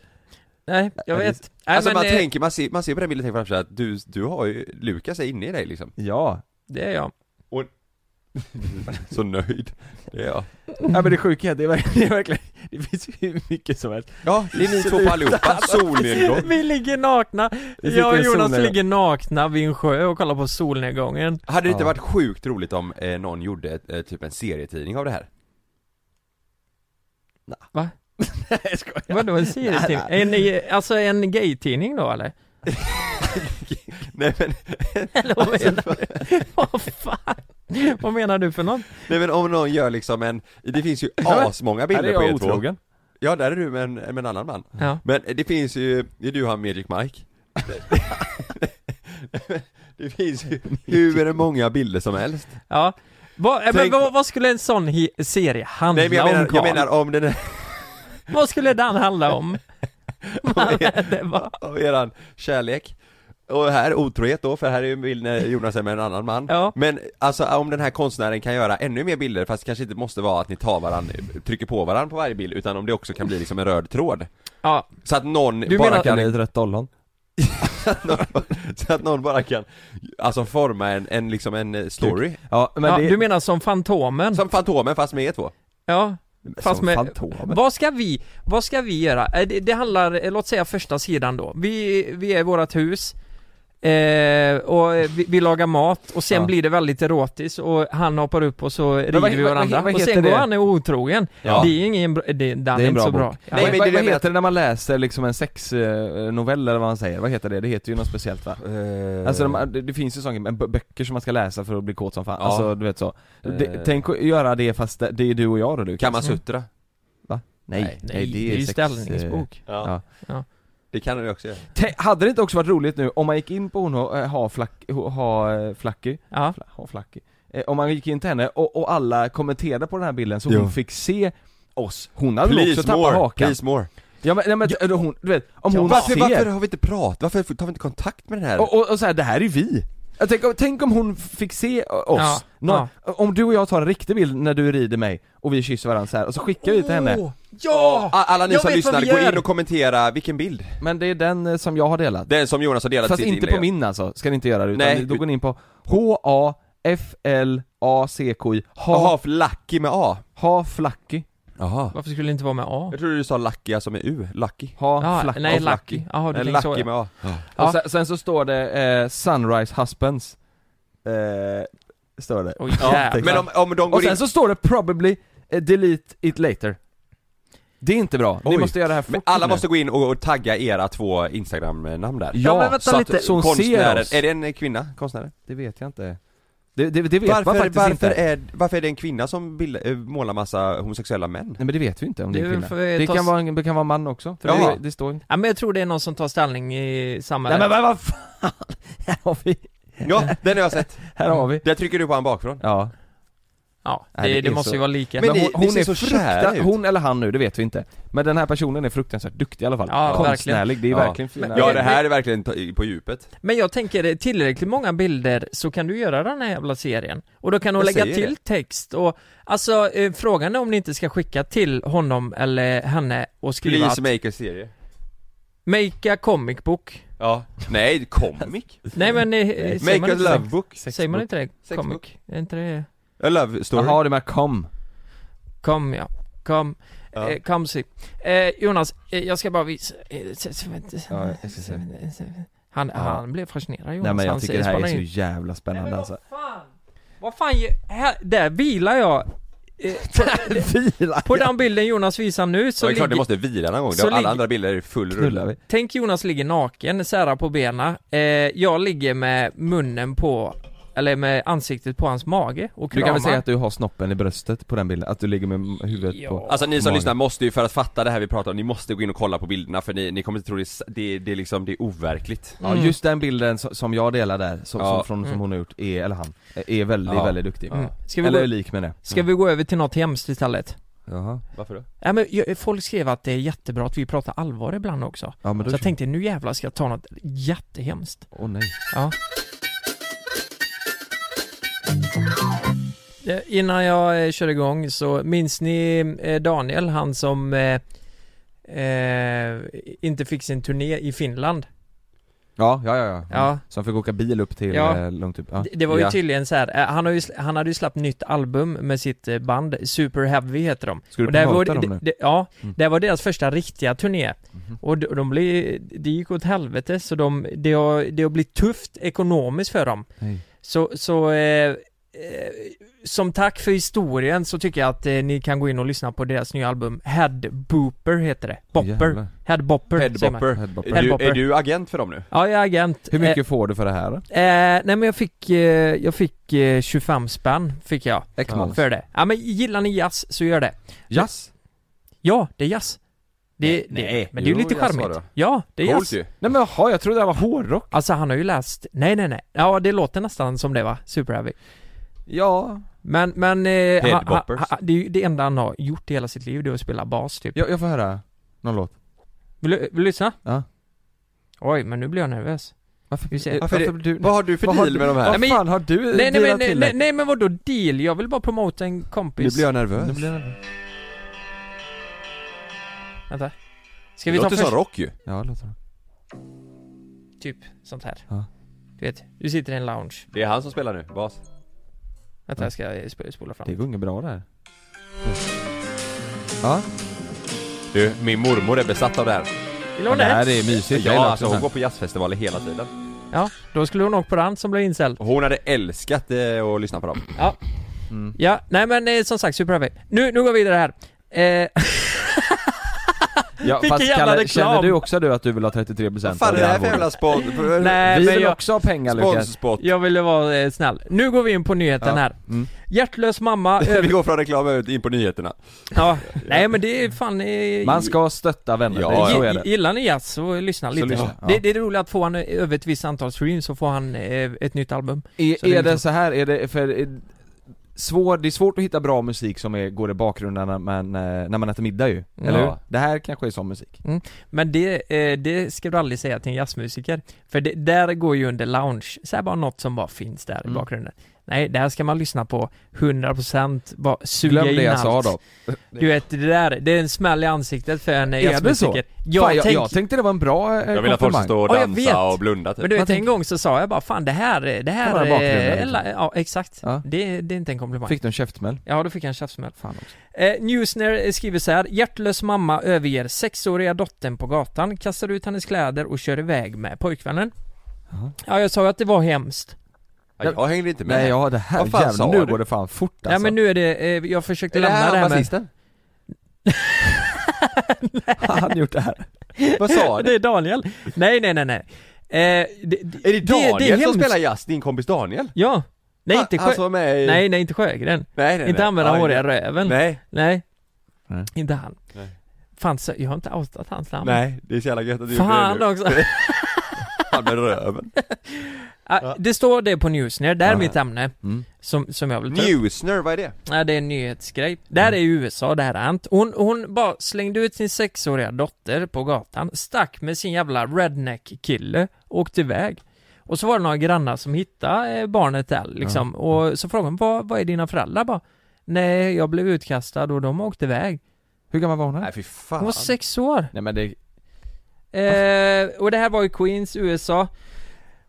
[SPEAKER 8] Nej, jag vet. Nej,
[SPEAKER 7] alltså
[SPEAKER 8] men,
[SPEAKER 7] man
[SPEAKER 8] eh,
[SPEAKER 7] tänker, man ser, man ser på den bilden och tänker framför sig att du, du har ju, Lukas är inne i dig liksom
[SPEAKER 2] Ja.
[SPEAKER 8] Det är jag.
[SPEAKER 7] Så nöjd, det är jag
[SPEAKER 2] ja men det sjuka är att det är verkligen, det, är verkligen, det finns ju hur mycket som helst.
[SPEAKER 7] Ja, det är ni två på allihopa, solnedgång
[SPEAKER 8] Alltså, Vi ligger nakna.
[SPEAKER 2] sitter
[SPEAKER 8] Jag och
[SPEAKER 2] i
[SPEAKER 8] Jonas
[SPEAKER 2] solen.
[SPEAKER 8] ligger nakna vid en sjö och kollar på solnedgången.
[SPEAKER 7] Hade det inte
[SPEAKER 2] Ja.
[SPEAKER 7] varit sjukt roligt om eh, någon gjorde ett, eh, typ en serietidning av det här?
[SPEAKER 8] Va?
[SPEAKER 2] Jag skojar.
[SPEAKER 8] Vadå en serietidning? En, eh, alltså en gay-tidning då eller?
[SPEAKER 7] Nej men,
[SPEAKER 8] Eller vad menar du? Vad fan? Vad menar du för något?
[SPEAKER 7] nej men om någon gör liksom en, det finns ju asmånga
[SPEAKER 2] Här är
[SPEAKER 7] bilder
[SPEAKER 2] jag
[SPEAKER 7] på er två
[SPEAKER 2] otrogen.
[SPEAKER 7] Ja där är du med en, med en annan man
[SPEAKER 8] Ja.
[SPEAKER 7] Men det finns ju, det är du och han Magic Mike Det finns ju hur många bilder som helst
[SPEAKER 8] Ja. Vad, eh, men
[SPEAKER 7] Tänk-
[SPEAKER 8] vad, vad skulle en sån hi- serie handla
[SPEAKER 7] Nej men jag
[SPEAKER 8] om
[SPEAKER 7] menar, jag
[SPEAKER 8] Carl?
[SPEAKER 7] menar om den här
[SPEAKER 8] Vad skulle den handla om? det var...
[SPEAKER 7] av eran kärlek och här otrohet då, för här är ju en bild när Jonas är med en annan man
[SPEAKER 8] Ja.
[SPEAKER 7] Men alltså om den här konstnären kan göra ännu mer bilder fast det kanske inte måste vara att ni tar varandra, trycker på varandra på varje bild utan om det också kan bli liksom en röd tråd
[SPEAKER 8] Ja,
[SPEAKER 7] Så att någon
[SPEAKER 8] Du
[SPEAKER 7] bara
[SPEAKER 8] menar-
[SPEAKER 2] Kan det
[SPEAKER 7] kan,
[SPEAKER 2] ett rött ollon?
[SPEAKER 7] så att någon bara kan Alltså forma en, en liksom en story
[SPEAKER 2] Ja men
[SPEAKER 8] ja
[SPEAKER 2] det,
[SPEAKER 8] du menar som Fantomen?
[SPEAKER 7] Som Fantomen fast med er två
[SPEAKER 8] Ja. Fast
[SPEAKER 2] som
[SPEAKER 8] med,
[SPEAKER 2] Fantomen.
[SPEAKER 8] vad ska vi, vad ska vi göra? Eh, Det, det handlar, eh, låt säga första sidan då. Vi, vi är i vårat hus, Eh, och vi, vi lagar mat och sen
[SPEAKER 2] Ja.
[SPEAKER 8] blir det väldigt erotiskt och han hoppar upp och så river
[SPEAKER 2] vad-
[SPEAKER 8] vi
[SPEAKER 2] vad-
[SPEAKER 8] varandra
[SPEAKER 2] vad
[SPEAKER 8] och
[SPEAKER 2] heter
[SPEAKER 8] sen går
[SPEAKER 2] det?
[SPEAKER 8] han är otrogen.
[SPEAKER 2] Ja.
[SPEAKER 8] Det är ingen bra, det, den är,
[SPEAKER 2] en
[SPEAKER 8] inte så
[SPEAKER 2] bok.
[SPEAKER 8] bra.
[SPEAKER 2] Nej, men
[SPEAKER 8] Vad-
[SPEAKER 2] vad,
[SPEAKER 8] vad
[SPEAKER 2] heter det när man läser liksom en sexnovell eller vad man säger? Vad heter det? Det heter ju något speciellt va?
[SPEAKER 7] Eh,
[SPEAKER 2] Alltså de, det, det finns ju sådana men bö- böcker som man ska läsa för att bli kåt som fan,
[SPEAKER 7] Ja.
[SPEAKER 2] alltså du vet så det,
[SPEAKER 7] Eh.
[SPEAKER 2] Tänk att göra det fast det, det är du och jag då Lukas
[SPEAKER 7] Kamasutra.
[SPEAKER 2] Va? Nej,
[SPEAKER 7] Nej,
[SPEAKER 2] nej,
[SPEAKER 8] det är ju ställningsbok.
[SPEAKER 2] eh, ja.
[SPEAKER 8] Ja.
[SPEAKER 7] Det kan du också göra.
[SPEAKER 2] Tänk- Hade det inte också varit roligt nu om man gick in på hon och eh, ha flack, ho- ha eh, flacky,
[SPEAKER 8] Ja.
[SPEAKER 2] Fla- ha flacky. Eh, Om man gick in till henne och, och alla kommenterade på den här bilden så
[SPEAKER 7] Jo.
[SPEAKER 2] hon fick se oss, hon hade väl
[SPEAKER 7] Please
[SPEAKER 2] också tappat
[SPEAKER 7] more,
[SPEAKER 2] hakan
[SPEAKER 7] please more.
[SPEAKER 2] Ja men, nej, men eh, hon, du vet, om hon
[SPEAKER 7] varför,
[SPEAKER 2] ser
[SPEAKER 7] varför har vi inte pratat? Varför tar vi inte kontakt med den här?
[SPEAKER 2] Och, och, och så här, det här är vi! Jag tänk, tänk om hon fick se oss,
[SPEAKER 8] Ja,
[SPEAKER 2] Nå, om du och jag tar en riktig bild när du rider mig och vi kysser varandra så här och så skickar vi till henne
[SPEAKER 8] Ja!
[SPEAKER 7] A- Alla ni
[SPEAKER 8] Jag
[SPEAKER 7] som
[SPEAKER 8] vet vad
[SPEAKER 7] lyssnar,
[SPEAKER 8] vi
[SPEAKER 7] gå
[SPEAKER 8] gör.
[SPEAKER 7] in och kommentera, vilken bild?
[SPEAKER 2] Men det är den eh, som jag har delat
[SPEAKER 7] Den som Jonas har delat
[SPEAKER 2] Fast
[SPEAKER 7] sitt
[SPEAKER 2] inte
[SPEAKER 7] inlägg.
[SPEAKER 2] på min alltså, ska ni inte göra det utan
[SPEAKER 7] Nej.
[SPEAKER 2] då går ni in på H-A-F-L-A-C-K-I
[SPEAKER 7] Jaha,
[SPEAKER 2] Ha,
[SPEAKER 7] för Lucky med A.
[SPEAKER 2] ha flacky,
[SPEAKER 7] Jaha.
[SPEAKER 8] Varför skulle det inte vara med A?
[SPEAKER 7] Jag trodde du sa Lucky alltså med U, Lucky.
[SPEAKER 2] ha
[SPEAKER 8] Ja,
[SPEAKER 2] flacky
[SPEAKER 8] nej,
[SPEAKER 2] Och
[SPEAKER 8] Lucky.
[SPEAKER 2] flacky.
[SPEAKER 8] Jaha, du
[SPEAKER 7] Nej,
[SPEAKER 8] tänker så,
[SPEAKER 7] Lucky
[SPEAKER 8] ja.
[SPEAKER 7] med A.
[SPEAKER 8] Ja.
[SPEAKER 2] Och sen, sen så står det eh, Sunrise Husbands eh, Står det
[SPEAKER 8] Oj,
[SPEAKER 2] Ja,
[SPEAKER 8] jävlar.
[SPEAKER 7] Men om, om de
[SPEAKER 2] Och
[SPEAKER 7] går in...
[SPEAKER 2] sen så står det 'probably eh, delete it later' Det är inte bra, ni
[SPEAKER 7] Oj.
[SPEAKER 2] måste göra det här fort
[SPEAKER 7] Men alla
[SPEAKER 2] nu.
[SPEAKER 7] måste gå in och, och tagga era två instagram-namn där.
[SPEAKER 2] Ja, men vänta
[SPEAKER 7] så
[SPEAKER 2] lite.
[SPEAKER 7] Att,
[SPEAKER 2] Så hon ser
[SPEAKER 7] konstnären,
[SPEAKER 2] oss.
[SPEAKER 7] är det en eh, kvinna, konstnären?
[SPEAKER 2] Det vet jag inte Det, det, det vet man
[SPEAKER 7] Varför,
[SPEAKER 2] faktiskt
[SPEAKER 7] varför,
[SPEAKER 2] inte
[SPEAKER 7] är, varför är det en kvinna som bild, eh, målar massa homosexuella män?
[SPEAKER 2] Nej men det vet vi inte om det är
[SPEAKER 8] Det
[SPEAKER 2] en
[SPEAKER 8] är
[SPEAKER 2] kvinna
[SPEAKER 8] för-
[SPEAKER 2] Det
[SPEAKER 8] tas-
[SPEAKER 2] kan vara, en, det kan vara en man också, för
[SPEAKER 7] Jaha.
[SPEAKER 2] det, det står inte
[SPEAKER 8] Ja men jag tror det är någon som tar ställning i samma...
[SPEAKER 2] Nej men vad, vad fan! Här har vi,
[SPEAKER 7] Ja, den har jag sett.
[SPEAKER 2] här har vi
[SPEAKER 7] Där trycker du på han bakifrån.
[SPEAKER 2] Ja,
[SPEAKER 8] Ja, det,
[SPEAKER 2] Nej, det
[SPEAKER 8] det,
[SPEAKER 2] är
[SPEAKER 8] måste
[SPEAKER 2] så.
[SPEAKER 8] ju vara lika.
[SPEAKER 7] Men
[SPEAKER 2] Men
[SPEAKER 7] ni-
[SPEAKER 2] hon,
[SPEAKER 7] ni
[SPEAKER 2] hon
[SPEAKER 7] ser
[SPEAKER 2] är
[SPEAKER 7] så kära
[SPEAKER 2] fruktansvärt,
[SPEAKER 7] ut.
[SPEAKER 2] hon eller han nu, det vet vi inte Men den här personen är fruktansvärt duktig i alla fall
[SPEAKER 8] Ja,
[SPEAKER 2] Konstnärlig, det är
[SPEAKER 7] Ja.
[SPEAKER 2] verkligen fina
[SPEAKER 7] Ja, det här är verkligen ta- i- på djupet.
[SPEAKER 8] Men jag tänker, eh, tillräckligt många bilder så kan du göra den här jävla serien. Och då kan hon
[SPEAKER 7] Jag
[SPEAKER 8] lägga
[SPEAKER 7] säger
[SPEAKER 8] till text och, alltså eh, frågan är om ni inte ska skicka till honom eller henne och skriva
[SPEAKER 7] Please
[SPEAKER 8] att
[SPEAKER 7] make a serie.
[SPEAKER 8] Make a comic book.
[SPEAKER 7] Ja. Nej, comic.
[SPEAKER 8] Nej men, eh, säger man
[SPEAKER 7] Make a
[SPEAKER 8] inte
[SPEAKER 7] love book.
[SPEAKER 8] det? Säger man inte det?
[SPEAKER 7] Sexbook.
[SPEAKER 8] Comic? Är inte det?
[SPEAKER 7] A love story.
[SPEAKER 2] Jaha, det med kom
[SPEAKER 8] Kom ja, kom.
[SPEAKER 7] Ja.
[SPEAKER 8] Eh, kom si. Eh, Jonas, eh, jag ska bara visa. Eh, s- s-
[SPEAKER 2] Ja, jag ska se.
[SPEAKER 8] Han,
[SPEAKER 2] Ja.
[SPEAKER 8] han blev fascinerad Jonas.
[SPEAKER 2] Nej men
[SPEAKER 8] han
[SPEAKER 2] jag tycker det
[SPEAKER 8] ser-
[SPEAKER 2] här är
[SPEAKER 8] spanar
[SPEAKER 2] så
[SPEAKER 8] in.
[SPEAKER 2] jävla spännande alltså
[SPEAKER 8] fan! Vad fan, ge- här, där vilar jag! Eh,
[SPEAKER 2] Vila!
[SPEAKER 8] På den bilden Jonas visar nu
[SPEAKER 7] Så
[SPEAKER 8] så
[SPEAKER 7] det är klart, det
[SPEAKER 8] ligger,
[SPEAKER 7] måste vila någon gång.
[SPEAKER 8] så
[SPEAKER 7] Alla
[SPEAKER 8] ligger-
[SPEAKER 7] andra bilder är full
[SPEAKER 2] Knullar
[SPEAKER 7] rulle.
[SPEAKER 2] vi?
[SPEAKER 8] tänk Jonas ligger naken, särar på benen, eh, jag ligger med munnen på, eller med ansiktet på hans mage och
[SPEAKER 2] Du
[SPEAKER 8] kramar
[SPEAKER 2] kan väl säga att du har snoppen i bröstet på den bilden? Att du ligger med m- huvudet
[SPEAKER 8] Ja.
[SPEAKER 2] på...
[SPEAKER 7] Alltså ni som
[SPEAKER 2] Magen.
[SPEAKER 7] lyssnar måste ju, för att fatta det här vi pratar om, ni måste gå in och kolla på bilderna för ni, ni kommer inte tro det, är s- det, det är liksom, det är overkligt.
[SPEAKER 2] Ja
[SPEAKER 8] Mm.
[SPEAKER 2] just den bilden som, som jag delar där, som,
[SPEAKER 7] Ja.
[SPEAKER 2] som, från, som hon har gjort, är, eller han, är väldigt,
[SPEAKER 7] Ja.
[SPEAKER 2] väldigt duktig
[SPEAKER 8] Mm. Ska vi
[SPEAKER 2] Eller
[SPEAKER 8] gå-
[SPEAKER 2] lik med det
[SPEAKER 8] Ska vi gå över till något hemskt istället?
[SPEAKER 2] Jaha.
[SPEAKER 7] Varför då?
[SPEAKER 8] Ja, men jag- folk skrev att det är jättebra att vi pratar allvar ibland också.
[SPEAKER 2] Ja men då...
[SPEAKER 8] Så jag tänkte nu jävlar ska jag ta något jättehemskt.
[SPEAKER 2] Åh nej
[SPEAKER 8] Ja. Eh, Innan jag eh, kör igång så minns ni eh, Daniel, han som eh, eh, inte fick sin turné i Finland?
[SPEAKER 2] Ja, ja, ja, ja.
[SPEAKER 8] Ja.
[SPEAKER 2] Som fick åka bil upp till,
[SPEAKER 8] Ja.
[SPEAKER 2] eh, långt upp, ja.
[SPEAKER 8] Det, det var ju
[SPEAKER 7] Ja.
[SPEAKER 8] tydligen så här, eh, han, har ju, sl- han hade ju släppt nytt album med sitt eh, band, Super Heavy heter de.
[SPEAKER 2] Ska du
[SPEAKER 8] Och det här var,
[SPEAKER 2] promota dem
[SPEAKER 8] det-
[SPEAKER 2] nu?
[SPEAKER 8] det- Ja,
[SPEAKER 2] Mm. Mhm.
[SPEAKER 8] det här var deras första riktiga turné. Och de, de blev, det gick åt helvete så de, det har, det har blivit tufft ekonomiskt för dem.
[SPEAKER 2] Nej.
[SPEAKER 8] Så, så eh, eh, som tack för historien så tycker jag att eh, ni kan gå in och lyssna på deras nya album Head Booper heter det. Bopper.
[SPEAKER 2] Jävlar.
[SPEAKER 8] Head Bopper. säger man.
[SPEAKER 7] Headbopper.
[SPEAKER 2] Headbopper.
[SPEAKER 7] Är, du-
[SPEAKER 8] Headbopper.
[SPEAKER 7] är du agent för dem nu?
[SPEAKER 8] Ja, jag är agent.
[SPEAKER 2] Hur mycket får du för det här då?
[SPEAKER 8] Eh, eh, nej men jag fick, eh, jag fick eh, 25 spänn fick jag.
[SPEAKER 2] Ekmans.
[SPEAKER 8] För det. Ja men gillar ni jazz så gör det.
[SPEAKER 2] Jazz?
[SPEAKER 8] Ja, det är jazz. Det,
[SPEAKER 7] Nej,
[SPEAKER 8] det,
[SPEAKER 7] nej.
[SPEAKER 8] men det är ju
[SPEAKER 7] Jo,
[SPEAKER 8] lite
[SPEAKER 7] jazz var
[SPEAKER 8] charmigt.
[SPEAKER 7] det.
[SPEAKER 8] Ja, det är
[SPEAKER 7] Coolt
[SPEAKER 8] jazz.
[SPEAKER 7] ju.
[SPEAKER 2] Nej men jaha, jag trodde det här var hårdrock
[SPEAKER 8] Alltså han har ju läst, nej nej nej, ja det låter nästan som det va, Super Heavy.
[SPEAKER 2] Ja,
[SPEAKER 8] Men, men, eh, han- han,
[SPEAKER 7] Headboppers.
[SPEAKER 8] han, det är ju det enda han har gjort i hela sitt liv, det är att spela bas typ.
[SPEAKER 2] jag, jag får höra någon låt
[SPEAKER 8] Vill, du, vill du lyssna?
[SPEAKER 2] Ja.
[SPEAKER 8] Oj, men nu blir jag nervös.
[SPEAKER 2] Varför,
[SPEAKER 8] Vi ser.
[SPEAKER 2] varför,
[SPEAKER 7] Varför
[SPEAKER 2] varför du...
[SPEAKER 7] Vad har du för
[SPEAKER 2] Vad har
[SPEAKER 7] deal
[SPEAKER 2] du-
[SPEAKER 7] med de här?
[SPEAKER 8] Nej,
[SPEAKER 2] Vad
[SPEAKER 8] men-
[SPEAKER 2] fan har du
[SPEAKER 8] Nej, nej,
[SPEAKER 2] dealat
[SPEAKER 8] men, nej,
[SPEAKER 2] till
[SPEAKER 8] nej,
[SPEAKER 2] dig?
[SPEAKER 8] nej men vadå deal? Jag vill bara promota en kompis.
[SPEAKER 7] Nu blir jag nervös.
[SPEAKER 2] Nu blir jag-
[SPEAKER 8] Vänta. Ska
[SPEAKER 7] Det
[SPEAKER 8] vi ta
[SPEAKER 7] låter
[SPEAKER 8] först?
[SPEAKER 7] som rock ju.
[SPEAKER 2] Ja, låter det.
[SPEAKER 8] Typ sånt här.
[SPEAKER 2] Ja.
[SPEAKER 8] Du vet, du sitter i en lounge.
[SPEAKER 7] Det är han som spelar nu, bas.
[SPEAKER 8] Vänta, jag ska eh, sp- spola fram.
[SPEAKER 2] Det går inget bra där. Ja,
[SPEAKER 7] Du, min mormor är besatt av det här.
[SPEAKER 8] Vill du ha
[SPEAKER 2] det här
[SPEAKER 8] det?
[SPEAKER 2] är mysigt. Jag
[SPEAKER 7] Ja,
[SPEAKER 2] gillar
[SPEAKER 7] alltså
[SPEAKER 2] också
[SPEAKER 7] hon går
[SPEAKER 2] sånt
[SPEAKER 7] på jazzfestivaler hela tiden.
[SPEAKER 8] Ja, då skulle hon åkt på rand som blev incel.
[SPEAKER 7] Hon hade älskat eh, att lyssna på dem.
[SPEAKER 8] Ja.
[SPEAKER 2] Mm.
[SPEAKER 8] Ja, nej men eh, som sagt, Super Happy. Nu, nu går vi vidare här. Eh,
[SPEAKER 2] Ja,
[SPEAKER 8] Vilken
[SPEAKER 2] fast
[SPEAKER 8] jävla
[SPEAKER 2] Kalle,
[SPEAKER 8] reklam.
[SPEAKER 2] känner du också du att du vill ha 33%
[SPEAKER 8] Vad fan är det här för jävla
[SPEAKER 7] spons?
[SPEAKER 8] Nej,
[SPEAKER 2] Vi
[SPEAKER 8] men
[SPEAKER 2] vill
[SPEAKER 8] jag-
[SPEAKER 2] också ha pengar Lukas
[SPEAKER 8] jag ville vara eh, snäll. Nu går vi in på nyheten
[SPEAKER 7] Ja.
[SPEAKER 8] här.
[SPEAKER 2] Mm.
[SPEAKER 8] Hjärtlös mamma... över-
[SPEAKER 7] Vi går från reklam ut in på nyheterna.
[SPEAKER 8] ja, nej men det är fan... eh,
[SPEAKER 2] Man ska stötta vänner,
[SPEAKER 7] Ja,
[SPEAKER 2] det, så
[SPEAKER 7] ja.
[SPEAKER 2] är det
[SPEAKER 8] Gillar ni jazz så lyssna
[SPEAKER 2] Så
[SPEAKER 8] lite.
[SPEAKER 2] lyssna, ja.
[SPEAKER 8] Det, det är roligt att får han eh, över ett visst antal streams så får han eh, ett nytt album.
[SPEAKER 2] Är,
[SPEAKER 8] Så det är
[SPEAKER 2] är det
[SPEAKER 8] liksom-
[SPEAKER 2] så här, är det för är, svår, det är svårt att hitta bra musik som är, går i bakgrunden när man, eh, när man äter middag ju, eller
[SPEAKER 8] Ja.
[SPEAKER 2] hur? Det här kanske är sån musik
[SPEAKER 8] Mm. Men det, eh, det ska du aldrig säga till en jazzmusiker. För det, där går ju under lounge, så här bara något som bara finns där i
[SPEAKER 2] Mm.
[SPEAKER 8] bakgrunden. Nej, där ska man lyssna på 100%, bara suga
[SPEAKER 2] Glöm
[SPEAKER 8] in
[SPEAKER 2] det jag
[SPEAKER 8] allt.
[SPEAKER 2] sa då
[SPEAKER 8] Du vet, det där, det är en smäll i ansiktet för en
[SPEAKER 2] Är det så?
[SPEAKER 8] jazzmusiker.
[SPEAKER 2] Jag, Fan, jag,
[SPEAKER 8] tänk-
[SPEAKER 2] jag tänkte det var en bra eh,
[SPEAKER 7] Jag vill att folk ska
[SPEAKER 2] komplimang.
[SPEAKER 7] stå och
[SPEAKER 8] Ja, jag
[SPEAKER 7] dansa
[SPEAKER 8] vet.
[SPEAKER 7] och blunda typ.
[SPEAKER 8] Men du vet,
[SPEAKER 2] Vad
[SPEAKER 8] en gång så sa jag bara fan det här, det här,
[SPEAKER 2] Bara bakgrunden,
[SPEAKER 8] eh,
[SPEAKER 2] liksom.
[SPEAKER 8] la- ja exakt.
[SPEAKER 2] Ja.
[SPEAKER 8] Det, det är inte en komplimang.
[SPEAKER 2] Fick du en käftsmäll?
[SPEAKER 8] Ja, då fick jag en käftsmäll.
[SPEAKER 2] Fan också
[SPEAKER 8] Eh, Newsner skriver så här. Hjärtlös mamma överger sexåriga dottern på gatan, kastar ut hennes kläder och kör iväg med pojkvännen.
[SPEAKER 2] Jaha.
[SPEAKER 8] Ja, jag sa ju att det var hemskt.
[SPEAKER 7] Ja, Jag hängde inte med.
[SPEAKER 2] Nej ja, det här
[SPEAKER 7] Vad fan
[SPEAKER 2] jävlar,
[SPEAKER 7] sa
[SPEAKER 2] nu
[SPEAKER 7] du?
[SPEAKER 2] går det fan fort alltså.
[SPEAKER 8] Nej men nu är det, eh, jag försökte lämna det här med...
[SPEAKER 2] Har han gjort det här?
[SPEAKER 7] Vad sa du?
[SPEAKER 8] Det är Daniel. Nej, nej, nej, nej. Eh, det,
[SPEAKER 7] Är det Daniel
[SPEAKER 8] det är
[SPEAKER 7] som
[SPEAKER 8] hemskt.
[SPEAKER 7] spelar jazz? Din kompis Daniel?
[SPEAKER 8] Ja. Nej, inte
[SPEAKER 7] Han
[SPEAKER 8] Sjö...
[SPEAKER 7] som var med i...
[SPEAKER 8] Nej, nej, inte Sjögren.
[SPEAKER 7] nej, nej.
[SPEAKER 8] inte han med den
[SPEAKER 7] Ja,
[SPEAKER 8] håriga röven.
[SPEAKER 7] Nej,
[SPEAKER 8] Nej.
[SPEAKER 2] Nej.
[SPEAKER 8] Inte han.
[SPEAKER 7] Nej.
[SPEAKER 8] Fan, så, jag har inte outat hans namn.
[SPEAKER 7] nej. Det är så jävla gött att du gjorde
[SPEAKER 8] Fan
[SPEAKER 7] det nu.
[SPEAKER 8] också.
[SPEAKER 7] Han med röven.
[SPEAKER 8] Ah, Det står det på Newsner, det här är mitt ämne.
[SPEAKER 2] Mm.
[SPEAKER 8] Som, som jag vill ta upp.
[SPEAKER 7] Newsner, vad är det?
[SPEAKER 8] Nej, det är en nyhetsgrej. Det
[SPEAKER 2] Mm.
[SPEAKER 8] här är i USA, det här har hänt. Hon, hon bara slängde ut sin sexåriga dotter på gatan, stack med sin jävla redneck-kille och åkte iväg. Och så var det några grannar som hittade eh, barnet där liksom. Och så frågade hon, vad, vad är dina föräldrar? Bara, Nej, jag blev utkastad och de åkte iväg.
[SPEAKER 2] Hur gammal var hon här?
[SPEAKER 7] Nej fy fan.
[SPEAKER 8] Hon var sex år.
[SPEAKER 2] Nej men det,
[SPEAKER 8] Eh, och det här var i Queens, USA.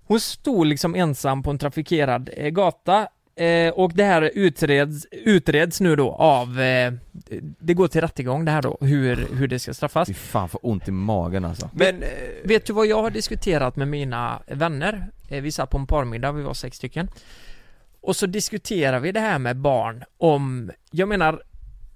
[SPEAKER 8] Hon stod liksom ensam på en trafikerad eh, gata. Eh, och det här utreds, utreds nu då av, eh, det går till rättegång det här då, hur, hur det ska straffas.
[SPEAKER 2] fy fan för ont i magen alltså
[SPEAKER 7] Men, eh,
[SPEAKER 8] Vet du vad jag har diskuterat med mina vänner? Eh, Vi satt på en parmiddag, vi var sex stycken. Och så diskuterar vi det här med barn om, jag menar,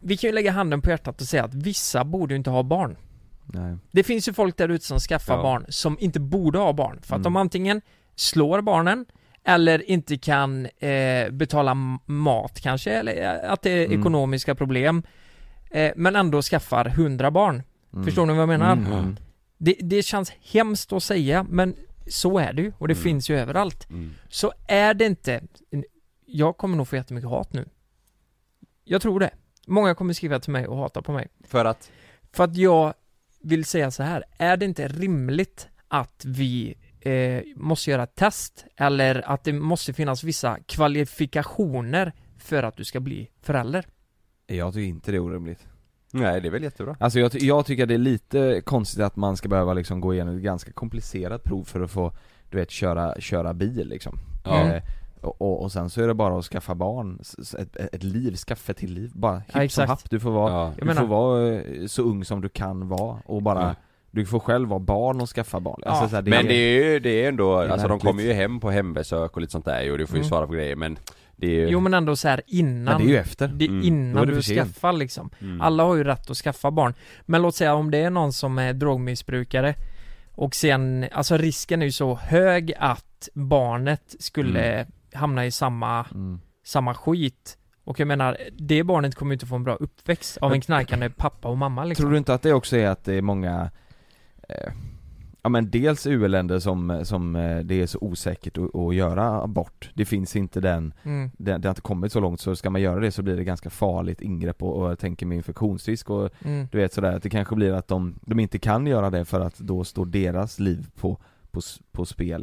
[SPEAKER 8] vi kan ju lägga handen på hjärtat och säga att vissa borde ju inte ha barn.
[SPEAKER 2] Nej.
[SPEAKER 8] Det finns ju folk där ute som skaffar
[SPEAKER 7] Ja.
[SPEAKER 8] barn som inte borde ha barn för att de
[SPEAKER 2] Mm.
[SPEAKER 8] antingen slår barnen eller inte kan eh, betala m- mat kanske eller eh, att det är
[SPEAKER 2] Mm.
[SPEAKER 8] ekonomiska problem eh, men ändå skaffar hundra barn.
[SPEAKER 2] Mm.
[SPEAKER 8] Förstår ni vad jag menar?
[SPEAKER 2] Mm. Mm.
[SPEAKER 8] Det, det känns hemskt att säga men så är det ju och det
[SPEAKER 7] Mm.
[SPEAKER 8] finns ju överallt.
[SPEAKER 7] mm.
[SPEAKER 8] Så är det inte, jag kommer nog få jättemycket hat nu. Jag tror det. Många kommer skriva till mig och hata på mig.
[SPEAKER 7] för att?
[SPEAKER 8] För att jag vill säga så här, är det inte rimligt att vi eh, måste göra ett test eller att det måste finnas vissa kvalifikationer för att du ska bli förälder?
[SPEAKER 2] Jag tycker inte det är orimligt
[SPEAKER 7] Nej det är väl jättebra.
[SPEAKER 2] Alltså jag, ty- jag tycker att det är lite konstigt att man ska behöva liksom gå igenom ett ganska komplicerat prov för att få, du vet, köra, köra bil liksom
[SPEAKER 7] Ja.
[SPEAKER 2] eh, och, och- och sen så är det bara att skaffa barn, s- s- ett, ett liv, skaffa ett till liv, bara hipp som
[SPEAKER 8] exakt.
[SPEAKER 2] happ, du får vara,
[SPEAKER 7] Ja.
[SPEAKER 8] Jag
[SPEAKER 2] du
[SPEAKER 8] menar-
[SPEAKER 2] får vara eh, så ung som du kan vara och bara
[SPEAKER 7] Ja.
[SPEAKER 2] Du får själv vara barn och skaffa barn, alltså,
[SPEAKER 8] Ja.
[SPEAKER 2] så här, det,
[SPEAKER 7] Men det
[SPEAKER 2] är,
[SPEAKER 7] är ju, det är ändå,
[SPEAKER 2] är
[SPEAKER 7] alltså de
[SPEAKER 2] märkligt.
[SPEAKER 7] kommer ju hem på hembesök och lite sånt där ju och du får ju
[SPEAKER 8] Mm.
[SPEAKER 7] svara på grejer men det är ju...
[SPEAKER 8] Jo men ändå så här
[SPEAKER 2] men
[SPEAKER 8] innan,
[SPEAKER 2] det är ju efter
[SPEAKER 8] det,
[SPEAKER 7] Mm.
[SPEAKER 2] Då är
[SPEAKER 8] innan
[SPEAKER 2] det
[SPEAKER 8] du
[SPEAKER 2] för sent.
[SPEAKER 8] skaffar liksom.
[SPEAKER 7] Mm.
[SPEAKER 8] Alla har ju rätt att skaffa barn. Men låt säga om det är någon som är drogmissbrukare och sen, alltså risken är ju så hög att barnet skulle hamna i samma
[SPEAKER 2] mm.
[SPEAKER 8] samma skit. Och jag menar, det barnet kommer ju inte få en bra uppväxt av en knarkande pappa och mamma liksom.
[SPEAKER 2] Tror du inte att det också är att det är många eh, Ja men dels u-länder som, som eh, det är så osäkert att, att göra abort Det finns inte den,
[SPEAKER 8] Mm.
[SPEAKER 2] det, det har inte kommit så långt så ska man göra det så blir det ganska farligt ingrepp och, och jag tänker med infektionsrisk och
[SPEAKER 8] Mm.
[SPEAKER 2] du vet sådär att det kanske blir att de, de inte kan göra det för att då står deras liv på, på, s- på spel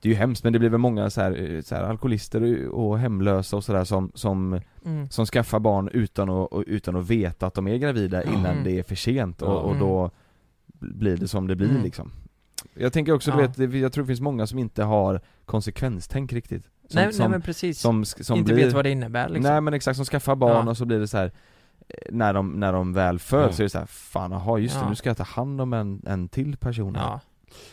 [SPEAKER 2] Det är ju hemskt men det blir väl många så här, eh, så här alkoholister och hemlösa och sådär som, som,
[SPEAKER 8] Mm.
[SPEAKER 2] som skaffar barn utan att, och- utan att veta att de är gravida
[SPEAKER 8] Ja.
[SPEAKER 2] innan
[SPEAKER 8] Mm.
[SPEAKER 2] det är för sent och, och
[SPEAKER 8] Ja.
[SPEAKER 2] då blir det som det blir
[SPEAKER 8] Mm.
[SPEAKER 2] liksom Jag tänker också, du
[SPEAKER 8] Ja.
[SPEAKER 2] vet, det- jag tror det finns många som inte har konsekvenstänk riktigt som,
[SPEAKER 8] Nej, nej, men precis.
[SPEAKER 2] Som, sk- som
[SPEAKER 8] Inte
[SPEAKER 2] blir,
[SPEAKER 8] vet vad det innebär, liksom.
[SPEAKER 2] Nej men exakt, som skaffar barn
[SPEAKER 8] Ja.
[SPEAKER 2] och så blir det så här eh, när de, när de väl föds
[SPEAKER 7] Mm.
[SPEAKER 2] så är det så här, fan jaha just det,
[SPEAKER 8] Ja.
[SPEAKER 2] nu ska jag ta hand om en, en till person här."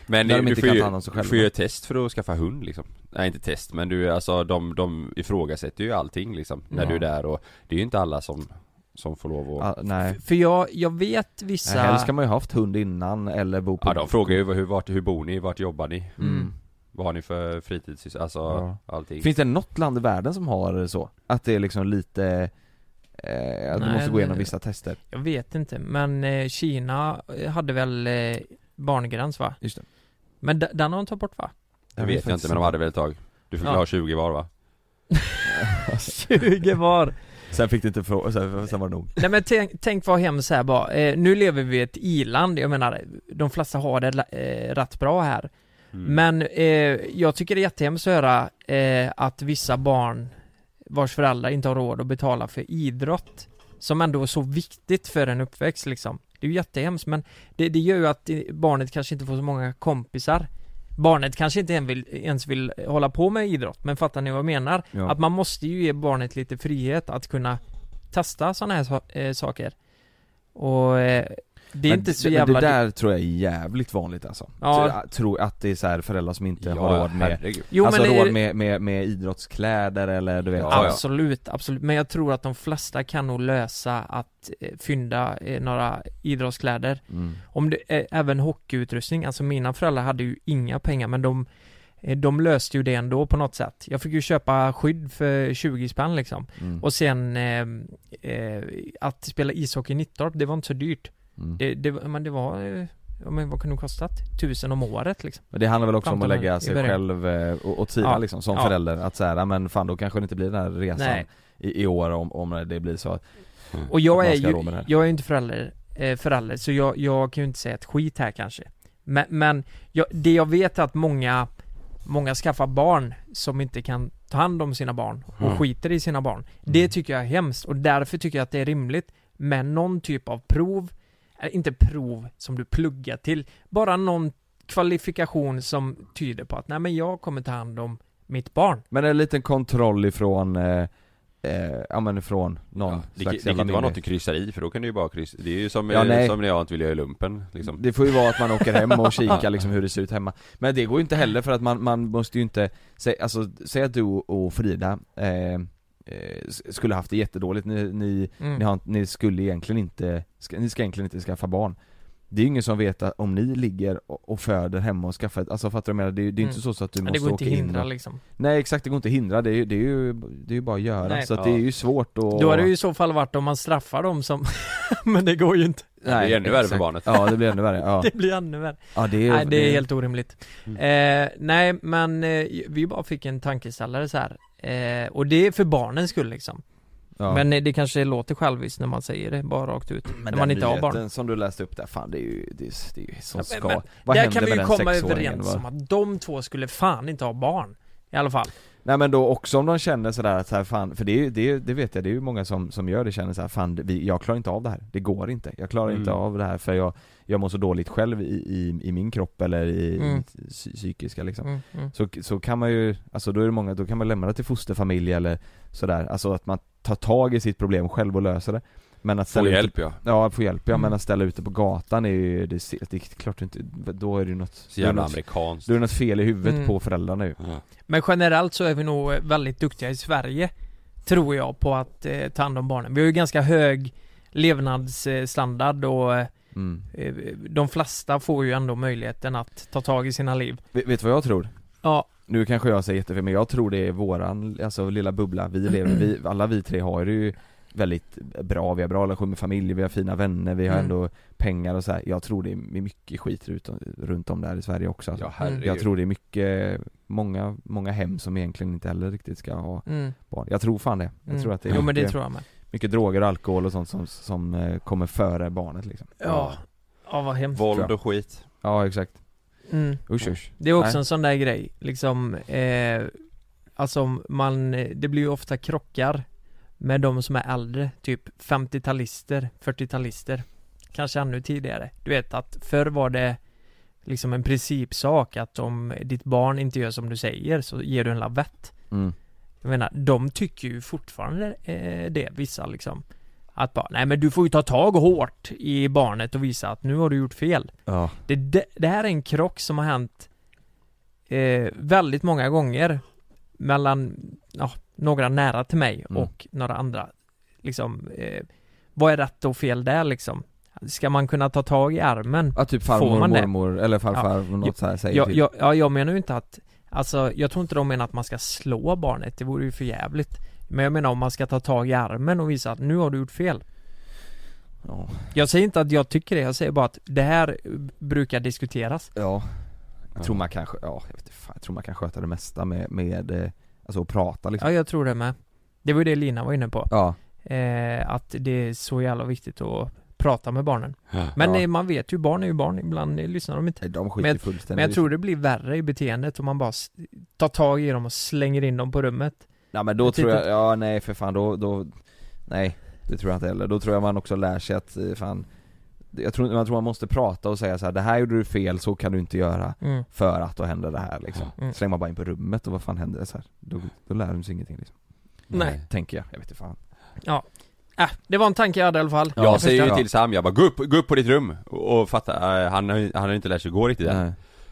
[SPEAKER 7] Men
[SPEAKER 2] När de
[SPEAKER 7] du
[SPEAKER 2] inte
[SPEAKER 7] får
[SPEAKER 2] kan
[SPEAKER 7] ju,
[SPEAKER 2] ta hand om sig
[SPEAKER 7] du
[SPEAKER 2] själva.
[SPEAKER 7] får ju ett test för att skaffa hund liksom Nej inte test men du alltså de, de ifrågasätter ju allting liksom när
[SPEAKER 8] Ja.
[SPEAKER 7] du är där och det är ju inte alla som, som får lov att
[SPEAKER 2] Ah, nej.
[SPEAKER 8] För jag, jag vet vissa...
[SPEAKER 2] Nej, helst ska man ju haft hund innan eller bo på...
[SPEAKER 7] Ja de frågar ju hur, vart, hur bor ni, vart jobbar ni?
[SPEAKER 2] Mm.
[SPEAKER 7] Vad har ni för fritids, alltså
[SPEAKER 2] Ja.
[SPEAKER 7] allting
[SPEAKER 2] Finns det något land i världen som har så? Att det är liksom lite... Eh, att du
[SPEAKER 8] Nej,
[SPEAKER 2] måste gå igenom
[SPEAKER 8] det-
[SPEAKER 2] vissa tester?
[SPEAKER 8] Jag vet inte, men eh, Kina eh, hade väl eh, barngräns va?
[SPEAKER 2] Just det.
[SPEAKER 8] Men de- den har de tagit bort va?
[SPEAKER 7] Det vet jag inte men de hade väl ett tag Du fick
[SPEAKER 8] Ja.
[SPEAKER 7] väl ha 20 var va?
[SPEAKER 8] 20 var!
[SPEAKER 2] Sen fick du inte fråga, sen, sen var det nog
[SPEAKER 8] Nej men tänk, tänk vad hemskt här bara, eh, nu lever vi i ett i-land, jag menar de flesta har det eh, rätt bra här Men eh, jag tycker det är jättehemskt att höra eh, att vissa barn vars föräldrar inte har råd att betala för idrott Som ändå är så viktigt för en uppväxt liksom Det är ju jättehemskt men det, det gör ju att eh, barnet kanske inte får så många kompisar Barnet kanske inte en vill, ens vill hålla på med idrott, men fattar ni vad jag menar?
[SPEAKER 2] Ja.
[SPEAKER 8] Att man måste ju ge barnet lite frihet att kunna testa sådana här so- eh, saker. Och eh, det är
[SPEAKER 2] Men
[SPEAKER 8] inte
[SPEAKER 2] d-
[SPEAKER 8] så
[SPEAKER 2] men
[SPEAKER 8] jävla...
[SPEAKER 2] Det där tror jag är jävligt vanligt alltså
[SPEAKER 8] Ja.
[SPEAKER 2] ja. Tror att det är så här föräldrar som inte
[SPEAKER 7] Ja,
[SPEAKER 2] har råd med,
[SPEAKER 7] herregud. Jo,
[SPEAKER 2] alltså
[SPEAKER 8] men det är-
[SPEAKER 2] råd med, med, med idrottskläder eller du vet
[SPEAKER 8] absolut, absolut. Men jag tror att de flesta kan nog lösa att eh, fynda eh, några idrottskläder.
[SPEAKER 2] Mm.
[SPEAKER 8] Om det, eh, även hockeyutrustning, alltså mina föräldrar hade ju inga pengar men de eh, de löste ju det ändå på något sätt. Jag fick ju köpa skydd för 20 spänn liksom.
[SPEAKER 2] Mm.
[SPEAKER 8] Och sen eh, eh, att spela ishockey i Nittorp, det var inte så dyrt.
[SPEAKER 2] Mm.
[SPEAKER 8] Det, det, var- men det var, eh, ja, men vad kunde det kostat? Tusen om året liksom.
[SPEAKER 2] Men det handlar väl också om
[SPEAKER 8] 1500
[SPEAKER 2] att lägga
[SPEAKER 8] i
[SPEAKER 2] sig
[SPEAKER 8] början.
[SPEAKER 2] själv eh, och, och tida
[SPEAKER 8] Ja.
[SPEAKER 2] liksom som
[SPEAKER 8] Ja.
[SPEAKER 2] förälder att säga men fan då kanske det inte blir den här resan
[SPEAKER 8] Nej.
[SPEAKER 2] i, i år om, om det blir så att
[SPEAKER 8] Och jag
[SPEAKER 2] Mm. att man
[SPEAKER 8] är
[SPEAKER 2] ska ha råd med det
[SPEAKER 8] ju,
[SPEAKER 2] här.
[SPEAKER 8] jag är ju inte förälder, eh, förälder så jag, jag kan ju inte säga ett skit här kanske. Men, men jag, det jag vet är att många, många skaffar barn som inte kan ta hand om sina barn och
[SPEAKER 10] Mm.
[SPEAKER 8] skiter i sina barn. Det
[SPEAKER 2] Mm.
[SPEAKER 8] tycker jag är hemskt och därför tycker jag att det är rimligt med någon typ av prov, eh, inte prov som du pluggar till, bara någon kvalifikation som tyder på att nej men jag kommer ta hand om mitt barn.
[SPEAKER 2] Men en liten kontroll ifrån, eh, eh, ja men ifrån någon
[SPEAKER 7] Ja, det, kan-
[SPEAKER 2] slags
[SPEAKER 7] det kan
[SPEAKER 2] jävla
[SPEAKER 7] inte vara något du
[SPEAKER 2] myndighet.
[SPEAKER 7] kryssar i för då kan du ju bara kryssa Det är ju som,
[SPEAKER 2] Ja,
[SPEAKER 7] eh,
[SPEAKER 2] nej.
[SPEAKER 7] som när jag inte vill göra i lumpen liksom
[SPEAKER 2] Det får ju vara att man åker hem och kikar liksom hur det ser ut hemma Men det går ju inte heller för att man, man måste ju inte, sä, alltså säg att du och Frida eh, eh, s- skulle haft det jättedåligt, ni, ni,
[SPEAKER 8] Mm.
[SPEAKER 2] ni, har, ni skulle egentligen inte, ska, ni ska egentligen inte skaffa barn Det är ju ingen som vet att om ni ligger och, och föder hemma och skaffar ett, alltså fattar du vad jag menar? Det, är ju- det är ju inte
[SPEAKER 8] Mm.
[SPEAKER 2] så, så att du
[SPEAKER 8] Men det
[SPEAKER 2] måste
[SPEAKER 8] går inte
[SPEAKER 2] åka in
[SPEAKER 8] hindra,
[SPEAKER 2] och,
[SPEAKER 8] liksom.
[SPEAKER 2] Nej exakt, det går inte att hindra, det är ju, det är ju, det är ju bara att göra
[SPEAKER 8] Nej.
[SPEAKER 2] så att
[SPEAKER 8] Ja.
[SPEAKER 2] det är ju svårt att
[SPEAKER 8] Då hade det ju i så fall varit om man straffar dem som, men det går ju inte.
[SPEAKER 7] Det blir ännu värre för
[SPEAKER 2] exakt.
[SPEAKER 7] barnet.
[SPEAKER 2] Ja det blir ännu värre, ja
[SPEAKER 8] Det blir ännu värre.
[SPEAKER 2] Ja det är, Mm.
[SPEAKER 8] nej, det är helt orimligt. Eh, nej, men eh, vi bara fick en tankeställare så här. Eh, och det är för barnens skull liksom.
[SPEAKER 2] Ja.
[SPEAKER 8] Men eh, det kanske låter själviskt när man säger det bara rakt ut. när man
[SPEAKER 2] den
[SPEAKER 8] inte har barn.
[SPEAKER 2] nyheten som du läste upp där, fan det är ju, det är, det är ju som
[SPEAKER 8] Men-
[SPEAKER 2] ska,
[SPEAKER 8] men
[SPEAKER 2] vad
[SPEAKER 8] där
[SPEAKER 2] händer
[SPEAKER 8] kan vi
[SPEAKER 2] med
[SPEAKER 8] ju
[SPEAKER 2] den
[SPEAKER 8] komma
[SPEAKER 2] sexåringen,
[SPEAKER 8] överens
[SPEAKER 2] va?
[SPEAKER 8] om att de två skulle fan inte ha barn. I alla fall.
[SPEAKER 2] Nej men då också om de känner sådär att så här, fan, för det, är, ju- det, är, det vet jag, det är ju många som, som gör det, känner såhär fan det- vi, jag klarar inte av det här, det går inte, jag klarar inte
[SPEAKER 8] Mm.
[SPEAKER 2] av det här för jag, jag mår så dåligt själv i, i, i min kropp eller i
[SPEAKER 8] Mm.
[SPEAKER 2] mitt psy- psykiska liksom.
[SPEAKER 8] Mm, mm.
[SPEAKER 2] Så, så kan man ju, alltså då är det många, då kan man lämna det till fosterfamilj eller sådär, alltså att man tar tag i sitt problem själv och löser det. Men att
[SPEAKER 7] Få
[SPEAKER 2] ställa
[SPEAKER 7] hjälp,
[SPEAKER 2] ute,
[SPEAKER 7] ja.
[SPEAKER 2] Ja, få hjälp ja,
[SPEAKER 7] Mm.
[SPEAKER 2] men att ställa ute på gatan är ju, det, ser- det är klart du inte, då är det ju något
[SPEAKER 7] Så jävla
[SPEAKER 2] då är det något-
[SPEAKER 7] amerikanskt.
[SPEAKER 2] Då är det något fel i huvudet
[SPEAKER 8] Mm.
[SPEAKER 2] på föräldrarna ju
[SPEAKER 8] Men generellt så är vi nog eh, väldigt duktiga i Sverige Tror jag på att eh, ta hand om barnen. Vi har ju ganska hög levnadsstandard och eh,
[SPEAKER 2] Mm.
[SPEAKER 8] eh, de flesta får ju ändå möjligheten att ta tag i sina liv.
[SPEAKER 2] Vet vet du vad jag tror?
[SPEAKER 8] Ja.
[SPEAKER 2] Nu kanske jag säger jättefel men jag tror det är våran, alltså lilla bubbla vi lever i. vi, alla vi tre har det ju väldigt bra, vi har bra relation med familj, vi har fina vänner, vi har
[SPEAKER 8] Mm.
[SPEAKER 2] ändå pengar och så här. Jag tror det är mycket skit runt, runt om där i Sverige också alltså.
[SPEAKER 8] Ja, herregud.
[SPEAKER 2] Jag tror det är mycket, många, många hem som egentligen inte heller riktigt ska ha
[SPEAKER 8] Mm.
[SPEAKER 2] barn. Jag tror fan det. Jag
[SPEAKER 8] Mm.
[SPEAKER 2] tror att det är
[SPEAKER 8] Jo, men det tror jag med.
[SPEAKER 2] Mycket droger och alkohol och sånt som, som eh, kommer före barnet liksom.
[SPEAKER 8] Ja. Ja vad hemskt.
[SPEAKER 7] Våld och skit
[SPEAKER 2] Ja exakt.
[SPEAKER 8] Mm.
[SPEAKER 2] Usch, usch.
[SPEAKER 8] Det är också
[SPEAKER 2] Nej.
[SPEAKER 8] en sån där grej, liksom eh, Alltså man, det blir ju ofta krockar Med de som är äldre, typ 50-talister, 40-talister Kanske ännu tidigare Du vet att förr var det Liksom en principsak att om ditt barn inte gör som du säger så ger du en lavett
[SPEAKER 2] Mm.
[SPEAKER 8] Jag menar, de tycker ju fortfarande eh, det, vissa liksom Att bara, nej men du får ju ta tag hårt i barnet och visa att nu har du gjort fel
[SPEAKER 2] Ja.
[SPEAKER 8] det, det, det här är en krock som har hänt eh, väldigt många gånger mellan ja, några nära till mig
[SPEAKER 2] Mm.
[SPEAKER 8] och några andra. Liksom, eh, vad är rätt och fel där liksom? Ska man kunna ta tag i armen?
[SPEAKER 2] Ja, typ farmor,
[SPEAKER 8] Får man det?
[SPEAKER 2] mormor eller farfar, något
[SPEAKER 8] jag-
[SPEAKER 2] så här säger
[SPEAKER 8] jag,
[SPEAKER 2] till.
[SPEAKER 8] jag, Ja, jag menar ju inte att Alltså, jag tror inte de menar att man ska slå barnet, det vore ju för jävligt Men jag menar om man ska ta tag i armen och visa att nu har du gjort fel Jag säger inte att jag tycker det, jag säger bara att det här brukar diskuteras
[SPEAKER 2] Ja Jag tror man kan, skö- ja, jag, vet inte fan, jag tror man kan sköta det mesta med, med eh, alltså att prata liksom.
[SPEAKER 8] Ja, jag tror det med. Det var ju det Lina var inne på.
[SPEAKER 2] Ja.
[SPEAKER 8] Eh, att det är så jävla viktigt att prata med barnen.
[SPEAKER 2] Ja.
[SPEAKER 8] Men
[SPEAKER 2] Ja.
[SPEAKER 8] eh, man vet ju, barn är ju barn, ibland eh, lyssnar de inte.
[SPEAKER 2] De skiter
[SPEAKER 8] men, jag-
[SPEAKER 2] fullständigt.
[SPEAKER 8] men jag tror det blir värre i beteendet om man bara s- tar tag i dem och slänger in dem på rummet.
[SPEAKER 2] Nej men då
[SPEAKER 8] Ett
[SPEAKER 2] tror jag,
[SPEAKER 8] litet-
[SPEAKER 2] ja nej för fan då, då nej det tror jag inte heller. Då tror jag man också lär sig att eh, fan jag tror, jag tror man måste prata och säga så här: det här gjorde du fel, så kan du inte göra
[SPEAKER 8] Mm.
[SPEAKER 2] för att då händer det här liksom.
[SPEAKER 8] Mm.
[SPEAKER 2] Slänger man bara in på rummet och vad fan händer så här? Då, då lär de sig ingenting liksom.
[SPEAKER 8] Nej.
[SPEAKER 2] Tänker jag, jag vet inte fan.
[SPEAKER 8] Ja. Äh, det var en tanke jag hade i alla fall.
[SPEAKER 7] Jag säger ju
[SPEAKER 8] förstår.
[SPEAKER 7] till Sam, jag bara gå upp, gå upp på ditt rum och, och fatta, eh, han har, ju- han har ju inte lärt sig gå riktigt än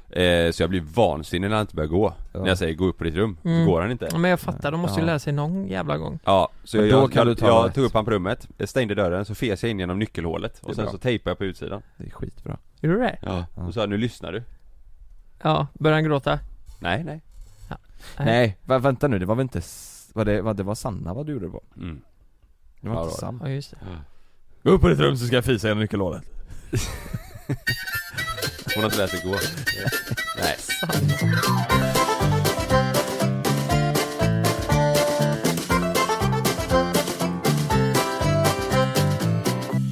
[SPEAKER 7] eh, Så jag blir vansinnig när han inte börjar gå När jag säger gå upp på ditt rum,
[SPEAKER 8] Mm.
[SPEAKER 7] så går han inte
[SPEAKER 8] Ja, Men jag fattar, de måste
[SPEAKER 7] Ja.
[SPEAKER 8] ju lära sig någon jävla gång.
[SPEAKER 7] Ja, så jag,
[SPEAKER 2] Men då
[SPEAKER 7] jag,
[SPEAKER 2] kan du
[SPEAKER 7] jag,
[SPEAKER 2] ta rätt.
[SPEAKER 7] tog upp han på rummet, jag stängde dörren, så fes jag in genom nyckelhålet
[SPEAKER 2] Det är
[SPEAKER 7] och sen
[SPEAKER 2] bra.
[SPEAKER 7] så tejpade jag på utsidan
[SPEAKER 2] Det är skitbra.
[SPEAKER 8] Gjorde du det?
[SPEAKER 7] Ja, och sa nu lyssnar du?
[SPEAKER 8] Ja, börjar han gråta?
[SPEAKER 7] Nej nej
[SPEAKER 8] Ja.
[SPEAKER 2] Nej, vä- vänta nu, det var väl inte, s- var det, var det var Sanna vad du gjorde det på?
[SPEAKER 7] Mm.
[SPEAKER 2] Det var
[SPEAKER 7] Ja,
[SPEAKER 2] inte
[SPEAKER 7] det var
[SPEAKER 2] Sam?
[SPEAKER 8] Ja, just det.
[SPEAKER 2] Gå upp på ditt rum så ska jag fisa genom nyckelhålet
[SPEAKER 7] Hon har inte lärt sig gå Nej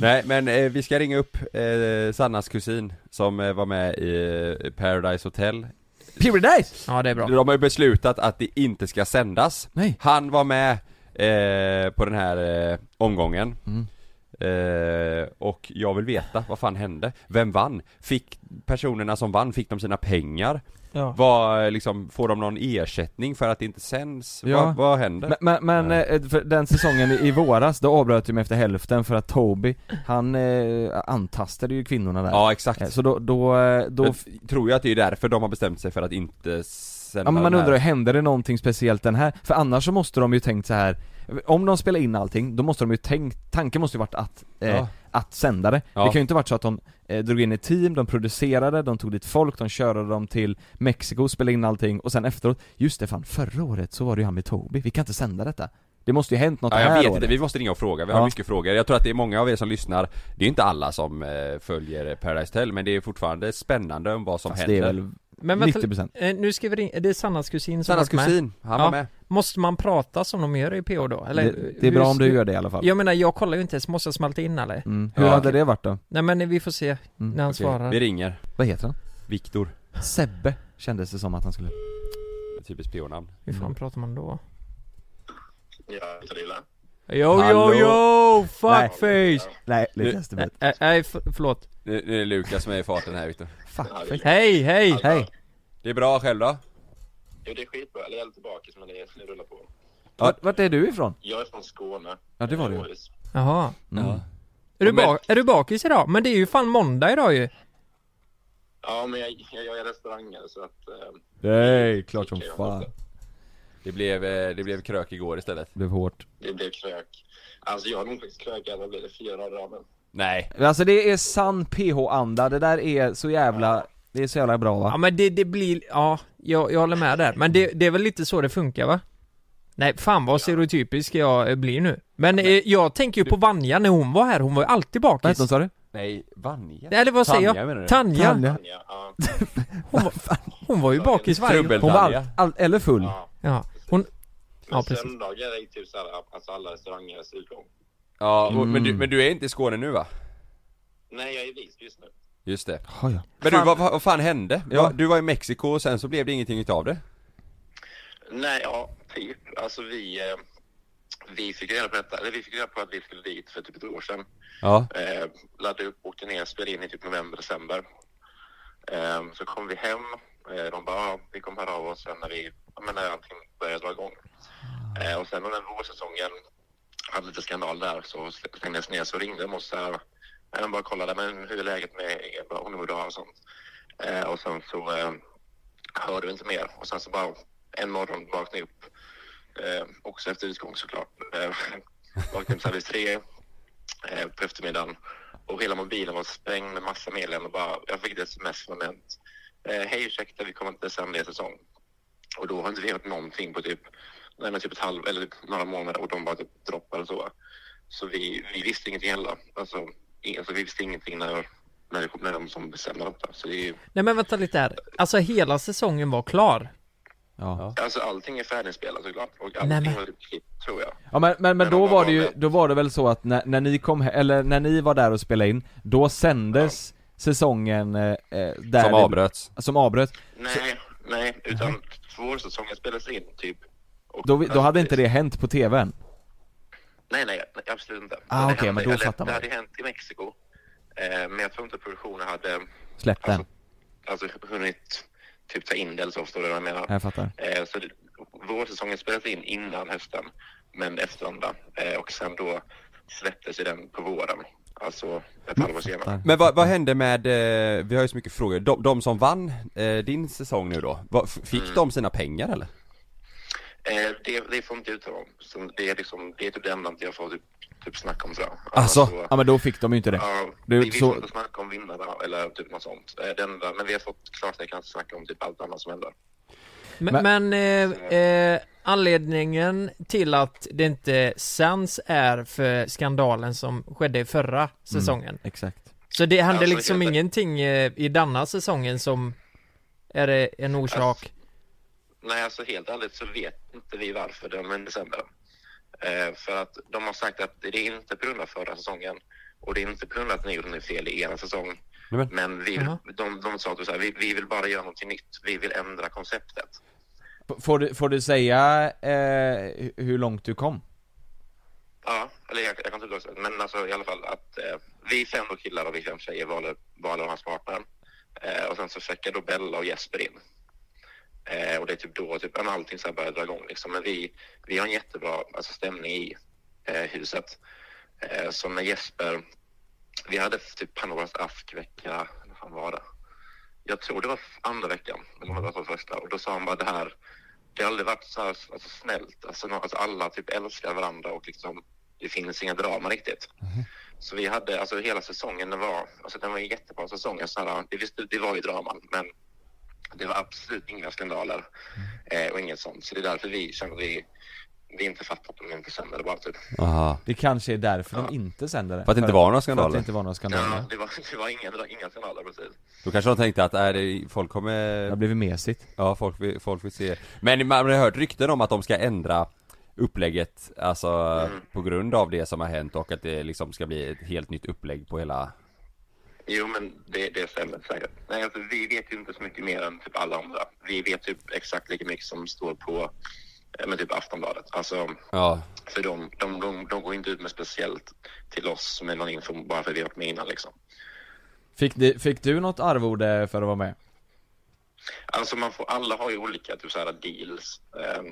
[SPEAKER 7] Nej men eh, vi ska ringa upp eh, Sannas kusin som eh, var med i eh, Paradise Hotel
[SPEAKER 8] Paradise! Ja, det är bra.
[SPEAKER 7] De har ju beslutat att det inte ska sändas
[SPEAKER 2] Nej.
[SPEAKER 7] Han var med eh, på den här eh, omgången
[SPEAKER 2] Mm.
[SPEAKER 7] eh, Och jag vill veta, vad fan hände? Vem vann? Fick personerna som vann, fick de sina pengar?
[SPEAKER 8] Ja.
[SPEAKER 7] Vad, eh, liksom, får de någon ersättning för att det inte sänds?
[SPEAKER 2] Ja.
[SPEAKER 7] Vad, vad händer?
[SPEAKER 2] Men, men, men eh, för den säsongen i- i våras, då avbröt ju mig efter hälften för att Toby, han eh, antastade ju kvinnorna där
[SPEAKER 7] Ja, exakt.
[SPEAKER 2] Eh, Så då, då, eh, då
[SPEAKER 7] Jag f- tror jag att det är därför de har bestämt sig för att inte sända
[SPEAKER 2] Ja men man
[SPEAKER 7] den här.
[SPEAKER 2] undrar, hände det någonting speciellt den här? För annars så måste de ju tänkt så här om de spelar in allting, då måste de ju tänkt, tanken måste ju varit att, eh,
[SPEAKER 7] Ja.
[SPEAKER 2] att sända det.
[SPEAKER 7] Ja.
[SPEAKER 2] Det kan ju inte varit så att de eh, drog in ett team, de producerade, de tog dit folk, de körde dem till Mexiko, spelade in allting och sen efteråt, just det fan, förra året så var det ju han med Toby, vi kan inte sända detta. Det måste ju hänt något
[SPEAKER 7] Ja,
[SPEAKER 2] det
[SPEAKER 7] jag
[SPEAKER 2] här
[SPEAKER 7] vet
[SPEAKER 2] året.
[SPEAKER 7] inte, vi måste ringa och fråga, vi har
[SPEAKER 2] Ja.
[SPEAKER 7] mycket frågor. Jag tror att det är många av er som lyssnar, det är inte alla som eh, följer Paradise Hotel men det är fortfarande spännande om vad som
[SPEAKER 2] Fast det
[SPEAKER 7] händer.
[SPEAKER 2] är väl
[SPEAKER 8] Men vänta,
[SPEAKER 2] 90%.
[SPEAKER 8] eh, nu ska vi ringa, det är Sannas kusin som
[SPEAKER 7] Sannas
[SPEAKER 8] varit med.
[SPEAKER 7] kusin, han var med.
[SPEAKER 8] Måste man prata som de gör i PH då? Eller,
[SPEAKER 2] Det- det är bra om du gör det i alla fall.
[SPEAKER 8] Jag menar, jag kollar ju inte ens, måste jag smälta in eller?
[SPEAKER 2] Mm. Hur hade det varit då?
[SPEAKER 8] Nej men vi får se när han svarar
[SPEAKER 7] Mm, Vi ringer.
[SPEAKER 2] Vad heter han?
[SPEAKER 7] Viktor.
[SPEAKER 2] Sebbe, kändes det som att han skulle
[SPEAKER 7] Typiskt PH-namn.
[SPEAKER 8] Hur fan pratar man då?
[SPEAKER 7] yo,
[SPEAKER 8] Yo
[SPEAKER 7] Hallå?
[SPEAKER 8] yo yo!
[SPEAKER 7] Nej.
[SPEAKER 8] Fuckface!
[SPEAKER 2] Nej,
[SPEAKER 7] Lukas,
[SPEAKER 8] det blir... Nej, nej, för, förlåt.
[SPEAKER 7] Nu, nu är det Lukas som är i farten här Viktor.
[SPEAKER 8] Hej, hej!
[SPEAKER 2] Hej!
[SPEAKER 7] Det är bra själv då?
[SPEAKER 10] Jo, det är skitbra. Eller jag är lite bakis, men det, det rullar på.
[SPEAKER 2] Vart, vart är du ifrån?
[SPEAKER 10] Jag är från Skåne.
[SPEAKER 2] Ja, det var
[SPEAKER 10] Eh,
[SPEAKER 2] det.
[SPEAKER 10] Åhus.
[SPEAKER 8] Jaha.
[SPEAKER 7] Mm.
[SPEAKER 8] Är du, ba- är du bakis idag? Men det är ju fan måndag idag ju.
[SPEAKER 10] Ja, men jag, jag, jag är restaurangare så att... Eh,
[SPEAKER 2] Nej, klart som fan.
[SPEAKER 7] Det blev, eh, det blev krök igår istället.
[SPEAKER 2] Det blev hårt.
[SPEAKER 10] det blev krök. Alltså jag har nog faktiskt krökat, vad blir det, fyra dagar i raden?
[SPEAKER 7] Nej.
[SPEAKER 2] Alltså det är sann PH-anda, det där är så jävla, det är så jävla bra va?
[SPEAKER 8] Ja men det, det blir, ja, jag, jag håller med där. Men det, det är väl lite så det funkar va? Nej, fan vad stereotypisk jag eh, blir nu. Men eh, jag tänker ju på Vanja när hon var här, hon var ju alltid bakis.
[SPEAKER 2] Vad hette hon, sa du?
[SPEAKER 7] Nej, Vanja?
[SPEAKER 8] Nej, eller vad säger jag?
[SPEAKER 7] Tanja, menar du?
[SPEAKER 8] Tanja.
[SPEAKER 2] Tanja.
[SPEAKER 8] hon, var, hon var ju bakis varje
[SPEAKER 2] Hon var all, all, eller full.
[SPEAKER 8] Ja, hon...
[SPEAKER 10] Men
[SPEAKER 8] Ja, precis.
[SPEAKER 10] söndagar är ju typ så här, alltså alla restaurangares utgång.
[SPEAKER 7] Ja, och,
[SPEAKER 2] Mm.
[SPEAKER 7] men, du, men du är inte i Skåne nu va?
[SPEAKER 10] Nej, jag är i Visby just nu.
[SPEAKER 7] Just det.
[SPEAKER 2] Ja, ja.
[SPEAKER 7] Men du, vad, vad fan hände? Ja, du var i Mexiko och sen så blev det ingenting utav det.
[SPEAKER 10] Nej, ja, typ. Alltså vi, eh, vi fick reda på detta, eller vi fick reda på att vi skulle dit för typ ett år sedan.
[SPEAKER 7] Ja.
[SPEAKER 10] Eh, laddade upp, åkte ner, spelade in i typ november, december. Eh, så kom vi hem. Eh, de bara, ja, vi kommer höra av oss sen när, vi, ja, men när allting börjar dra igång. Eh, och sen när den vårsäsongen hade lite skandal där så stängdes ner så ringde de oss så här. Ja, De bara kollade, men hur är läget med er? Bara, Hon mår bra och sånt. Eh, och sen så eh, hörde vi inte mer. Och sen så bara en morgon vaknade jag upp. Eh, också efter utgång såklart. Eh, vaknade upp så här vid tre eh, på eftermiddagen. Och hela mobilen var sprängd med massa meddelanden. och bara- Jag fick ett sms från en. Eh, Hej ursäkta, vi kommer inte sända er säsong. Och då har inte vi hört någonting på typ, nej, men typ ett halv eller typ några månader och de bara typ droppade så. Så vi, vi visste ingenting heller. Alltså, ing- alltså vi visste ingenting när, när det kom när de som bestämde detta. Så det är ju,
[SPEAKER 8] Nej men vänta lite här. Alltså hela säsongen var klar.
[SPEAKER 10] alltså allting är färdigspelat såklart och
[SPEAKER 8] Nej,
[SPEAKER 10] allting
[SPEAKER 8] men-
[SPEAKER 10] var typ klippt tror jag.
[SPEAKER 2] Ja men, men, men då var det ju, då var det väl så att när, när ni kom, he- eller när ni var där och spelade in, då sändes säsongen eh, eh, där
[SPEAKER 7] Som
[SPEAKER 2] det-
[SPEAKER 7] avbröts.
[SPEAKER 2] Som avbröts.
[SPEAKER 10] Nej, nej, utan två säsonger spelades in typ.
[SPEAKER 2] Då, vi- då hade
[SPEAKER 10] Alltså,
[SPEAKER 2] inte det hänt på tvn.
[SPEAKER 10] Nej, nej, nej absolut inte.
[SPEAKER 2] Ah,
[SPEAKER 10] Det
[SPEAKER 2] okej,
[SPEAKER 10] hände-
[SPEAKER 2] men då
[SPEAKER 10] eller,
[SPEAKER 2] fattar man.
[SPEAKER 10] Det hade hänt i Mexiko. Eh, men jag tror inte produktionen hade
[SPEAKER 2] Släpp den.
[SPEAKER 10] alltså, hunnit typ ta in det eller så, förstår du vad jag menar?
[SPEAKER 2] Jag fattar.
[SPEAKER 10] Eh, så det, vårsäsongen spelades in innan hösten, men efter andra. Eh, och sen då släpptes ju den på våren, alltså ett halvår senare.
[SPEAKER 7] Men vad, vad hände med, eh, vi har ju så mycket frågor, de, de som vann eh, din säsong nu då, vad, f- fick
[SPEAKER 10] Mm.
[SPEAKER 7] de sina pengar eller?
[SPEAKER 10] Eh, det, det får inte ut om. Så det, är liksom, det är typ det enda jag får typ, typ snacka om sådär.
[SPEAKER 2] Alltså, ja men då fick de ju inte det.
[SPEAKER 10] Ja,
[SPEAKER 2] Det
[SPEAKER 10] vi
[SPEAKER 2] är
[SPEAKER 10] vill
[SPEAKER 2] så,
[SPEAKER 10] inte snacka om vinnarna eller typ något sånt. Eh, Det enda, men vi har fått klartecken att snacka om typ allt annat som händer.
[SPEAKER 8] Men, men eh, eh, anledningen till att det inte sänds är för skandalen som skedde i
[SPEAKER 2] Mm.
[SPEAKER 8] förra säsongen.
[SPEAKER 2] exakt.
[SPEAKER 8] Så det hände
[SPEAKER 2] Alltså,
[SPEAKER 8] liksom
[SPEAKER 2] helt-
[SPEAKER 8] ingenting eh, i denna säsongen som är eh, en orsak?
[SPEAKER 10] Alltså, Nej, alltså helt ärligt så vet inte vi varför de hände sämre. Eh, för att de har sagt att det är inte på grund av förra säsongen och det är inte på grund av att ni gjorde något fel i ena säsong.
[SPEAKER 7] Men,
[SPEAKER 10] Men vi,
[SPEAKER 2] Jaha.
[SPEAKER 10] de, de sa att så här, vi, vi vill bara göra någonting nytt. Vi vill ändra konceptet.
[SPEAKER 2] F- får, du, får du säga eh, hu- hur långt du kom?
[SPEAKER 10] Ja, eller jag, jag kan inte också. Men alltså i alla fall att eh, vi fem då killar och vi fem tjejer valde, valde hans partner. Eh, och sen så checkar då Bella och Jesper in. Eh, och det är typ då typ, ja, men allting så här börjar dra igång liksom. Men vi, vi har en jättebra alltså, stämning i eh, huset. Eh, så när Jesper, vi hade typ Panoras askvecka, vad fan var det? Jag tror det var andra veckan, eller om det var för första. Och då sa han bara det här, det har aldrig varit så här alltså, snällt. Alltså, nå- alltså, alla typ älskar varandra och liksom det finns inga drama riktigt. Så vi hade, alltså hela säsongen, den var, alltså den var en jättebra säsong. Så här, det, visst, det var ju draman, men det var absolut inga skandaler eh, och inget sånt. Så det är därför vi känner att vi, vi inte fattar att de inte sänder det bara typ.
[SPEAKER 7] Aha.
[SPEAKER 2] Det kanske är därför de inte sänder det.
[SPEAKER 7] För att det inte var några
[SPEAKER 2] För att
[SPEAKER 7] skandaler.
[SPEAKER 2] det inte var några skandaler.
[SPEAKER 10] Ja, det var, det var inga, inga skandaler precis.
[SPEAKER 7] Då kanske de tänkte att, är det, folk kommer... Det har
[SPEAKER 2] blivit mesigt.
[SPEAKER 7] Ja, folk vill, folk vill se. Men man har hört rykten om att de ska ändra upplägget, alltså
[SPEAKER 10] Mm.
[SPEAKER 7] på grund av det som har hänt och att det liksom ska bli ett helt nytt upplägg på hela...
[SPEAKER 10] Jo, men det, det stämmer säkert. Nej, alltså, vi vet ju inte så mycket mer än typ alla andra. Vi vet typ exakt lika mycket som står på eh, men typ Aftonbladet. Alltså,
[SPEAKER 7] Ja.
[SPEAKER 10] för de, de, de, de går inte ut med speciellt till oss med någon info bara för att vi har varit med innan. Liksom.
[SPEAKER 2] Fick, du, fick du något arvode för att vara med?
[SPEAKER 10] Alltså, man får, alla har ju olika typ, så här, deals, eh,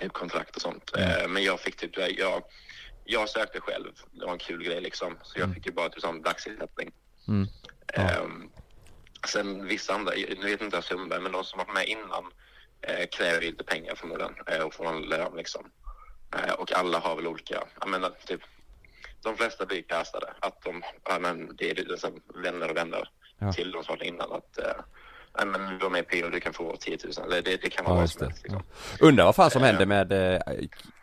[SPEAKER 10] typ kontrakt och sånt. Eh, men jag fick typ, jag, jag sökte själv. Det var en kul grej liksom. Så
[SPEAKER 7] Mm.
[SPEAKER 10] jag fick ju bara typ sån dagsersättning.
[SPEAKER 2] Mm.
[SPEAKER 10] Ehm, sen vissa andra, nu vet inte jag Sundberg, men de som varit med innan eh, kräver ju inte pengar förmodligen eh, och får någon lön liksom. Eh, och alla har väl olika, jag menar typ, de flesta blir kastade. Att de, ja men det är ju liksom vänner och vänner
[SPEAKER 2] Ja.
[SPEAKER 10] till de som varit innan att eh, nej men du var med i PO, du kan få 10 000. Eller det, det kan vara
[SPEAKER 7] Ja,
[SPEAKER 10] vad
[SPEAKER 7] just
[SPEAKER 10] som
[SPEAKER 7] det.
[SPEAKER 10] helst liksom.
[SPEAKER 7] Ja. Undrar vad fan som hände med eh,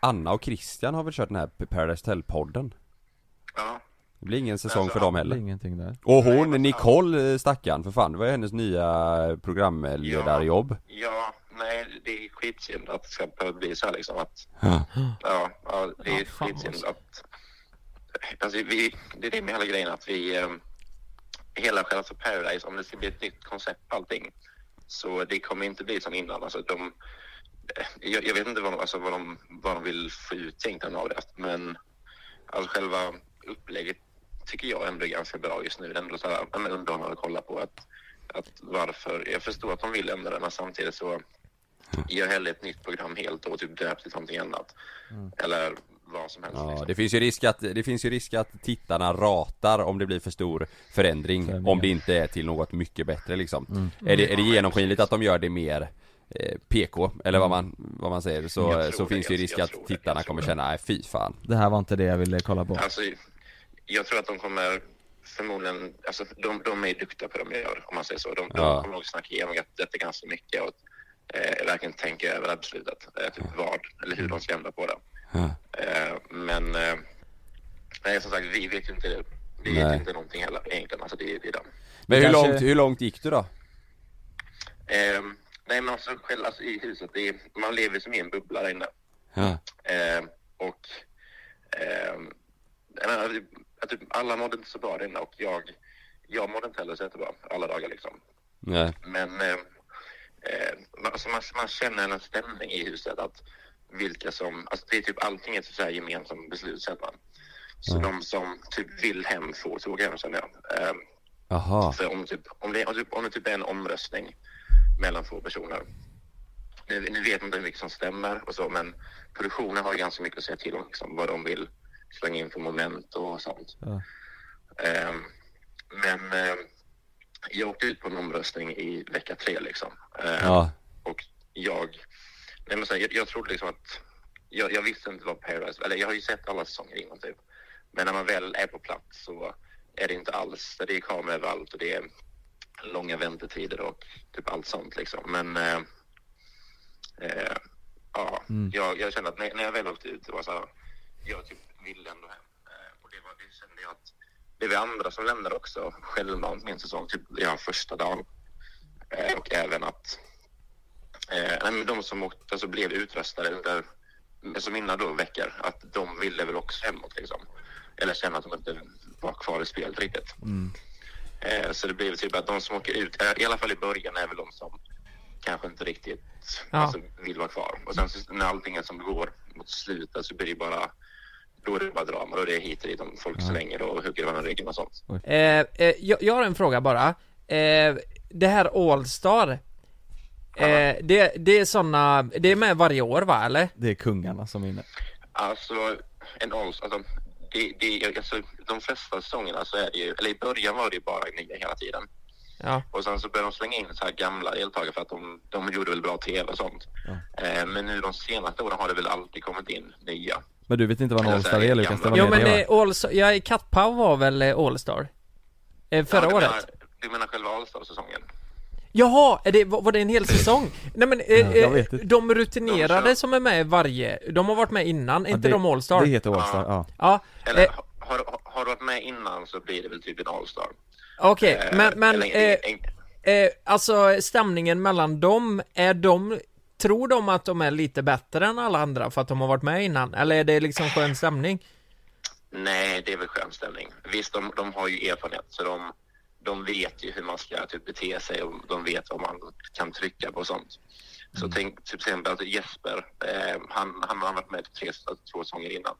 [SPEAKER 7] Anna och Christian har väl kört den här Paradise Hotel-podden?
[SPEAKER 10] Ja.
[SPEAKER 7] Det
[SPEAKER 10] Alltså,
[SPEAKER 7] blir ingen säsong för dem heller.
[SPEAKER 2] Ingenting där.
[SPEAKER 7] Och hon, Nicole eh, stackarn, för fan, det var ju hennes nya programledarjobb.
[SPEAKER 10] Ja, nej det är skitsynd att det ska behöva bli så här liksom att
[SPEAKER 7] Ja.
[SPEAKER 10] Ja, ja det är skitsynd att... Alltså, vi, det är det med hela grejen att vi... Eh, hela själva för Paradise, om det ska bli ett nytt koncept på allting så det kommer inte bli som innan. Alltså, de, eh, jag, jag vet inte vad de, alltså, vad, de, vad de vill få ut egentligen av det men alltså, själva upplägget tycker jag ändå är ganska bra just nu. Det är ändå så här, ja, men underhållande att kolla på. Att, att varför, jag förstår att de vill ändra det men samtidigt så gör hellre ett nytt program helt och typ döpt till någonting annat. Eller vad som helst.
[SPEAKER 7] Ja, det finns ju risk att, det finns ju risk att tittarna ratar om det blir för stor förändring,
[SPEAKER 2] Förändringar.
[SPEAKER 7] om det inte är till något mycket bättre liksom.
[SPEAKER 2] Mm.
[SPEAKER 7] Är, det, är det genomskinligt att de gör det mer eh, PK, eller vad man, vad man säger, så, så finns det ju risk att tittarna kommer känna, nej fy fan.
[SPEAKER 2] Det här var inte det jag ville kolla på.
[SPEAKER 10] Alltså, jag tror att de kommer förmodligen, alltså de, de är ju duktiga på det de gör om man säger så. De,
[SPEAKER 7] Ja.
[SPEAKER 10] de kommer nog snacka igenom detta ganska mycket och eh, verkligen tänka över det här beslutet. Eh, typ vad eller hur de ska ändra på det. Eh, men eh, nej, som sagt, vi vet ju inte det. Vi vet
[SPEAKER 7] Nej.
[SPEAKER 10] ju inte någonting heller egentligen. Alltså det, det är den.
[SPEAKER 7] Men hur
[SPEAKER 2] Kanske-
[SPEAKER 7] långt, hur långt gick du då?
[SPEAKER 10] Ehm, nej men alltså själv alltså, i huset, det är, man lever som i en bubbla där inne.
[SPEAKER 7] Ja.
[SPEAKER 10] Ehm, och ehm, jag menar, typ- att typ, alla mådde inte så bra där inne och jag, jag mådde inte heller så jättebra alla dagar liksom.
[SPEAKER 7] Nej.
[SPEAKER 10] Men eh, eh, man- alltså man, man känner en stämning i huset att vilka som, alltså det är typ allting är så här gemensamt beslut säger man. Så de som typ vill hem får så hem känner jag. Ehm,
[SPEAKER 7] Jaha.
[SPEAKER 10] för om, typ, om, det, om, typ, om det typ är en omröstning mellan två personer. Nu, nu vet man inte hur mycket som stämmer och så, men produktionen har ju ganska mycket att säga till om. Liksom, vad de vill slänga in för moment och sånt.
[SPEAKER 2] Ja.
[SPEAKER 10] Ehm, men eh, jag åkte ut på en omröstning i vecka tre liksom. Ehm,
[SPEAKER 7] Ja.
[SPEAKER 10] jag, nej men så här, jag, jag trodde liksom att, jag, jag visste inte vad Paradise, eller jag har ju sett alla säsonger innan typ. Men när man väl är på plats så är det inte alls, det är kameror överallt och det är långa väntetider och typ allt sånt liksom. Men eh, eh, ja, jag, jag kände att när, när jag väl åkte ut, det var så här, jag typ ville ändå hem. Eh, och det, var, det kände jag att det var andra som lämnade också självmant min säsong, typ ja, första dagen. Eh, och även att Eh, nej, men de som åkte, alltså, blev utröstade under, som innan då veckor, att de ville väl också hemåt liksom. Eller känna att de inte var kvar i spelet riktigt. Eh, så det blev typ att de som åker ut, eh, i alla fall i början, är väl de som kanske inte riktigt
[SPEAKER 8] Ja.
[SPEAKER 10] alltså, vill vara kvar. Och sen så, när allting är som det går mot slutet så blir det bara, då är det bara drama, då är det hit och dit, om folk slänger och hugger varandra i ryggen och sånt.
[SPEAKER 8] Eh, eh, jag, jag har en fråga bara. Eh, det här Allstar, eh, det, det är såna, det är med varje år va eller?
[SPEAKER 2] Det är kungarna som vinner.
[SPEAKER 10] Alltså, en alls, alltså, det, det, alltså, de flesta säsongerna så är det ju, eller i början var det ju bara nya hela tiden.
[SPEAKER 8] Ja.
[SPEAKER 10] Och sen så började de slänga in så här gamla deltagare för att de, de gjorde väl bra tv och sånt. Eh, men nu de senaste åren har det väl alltid kommit in nya.
[SPEAKER 2] Men du vet inte vad en
[SPEAKER 10] Eller
[SPEAKER 2] Allstar
[SPEAKER 10] så här,
[SPEAKER 2] är Lukas, det var
[SPEAKER 8] Jo
[SPEAKER 2] det
[SPEAKER 8] men
[SPEAKER 2] det var.
[SPEAKER 8] eh, Allstar, ja, Kattpaw var väl eh, Allstar? Eh, förra
[SPEAKER 10] Ja, du
[SPEAKER 8] året?
[SPEAKER 10] Menar, du menar själva Allstar-säsongen?
[SPEAKER 8] Jaha, är det, var var det en hel säsong? Nej men, eh,
[SPEAKER 2] jag
[SPEAKER 8] eh,
[SPEAKER 2] vet inte.
[SPEAKER 8] de rutinerade som är med i varje, de har varit med innan, inte
[SPEAKER 2] det-
[SPEAKER 8] de Allstar?
[SPEAKER 2] det heter Allstar, ja.
[SPEAKER 8] Ja,
[SPEAKER 10] Eller
[SPEAKER 8] eh,
[SPEAKER 10] har, har, har du varit med innan så blir det väl typ en Allstar.
[SPEAKER 8] okej,
[SPEAKER 10] Eh,
[SPEAKER 8] men, men
[SPEAKER 10] eller
[SPEAKER 8] eh,
[SPEAKER 10] en-
[SPEAKER 8] eh, alltså stämningen mellan dem, är de, tror de att de är lite bättre än alla andra för att de har varit med innan? Eller är det liksom skön stämning?
[SPEAKER 10] Nej, det är väl skön stämning. Visst, de, de har ju erfarenhet så de, de vet ju hur man ska typ, bete sig och de vet vad man kan trycka på och sånt.
[SPEAKER 8] Mm.
[SPEAKER 10] Så tänk typ, till exempel att Jesper, eh, han, han har varit med i typ tre, två säsonger innan.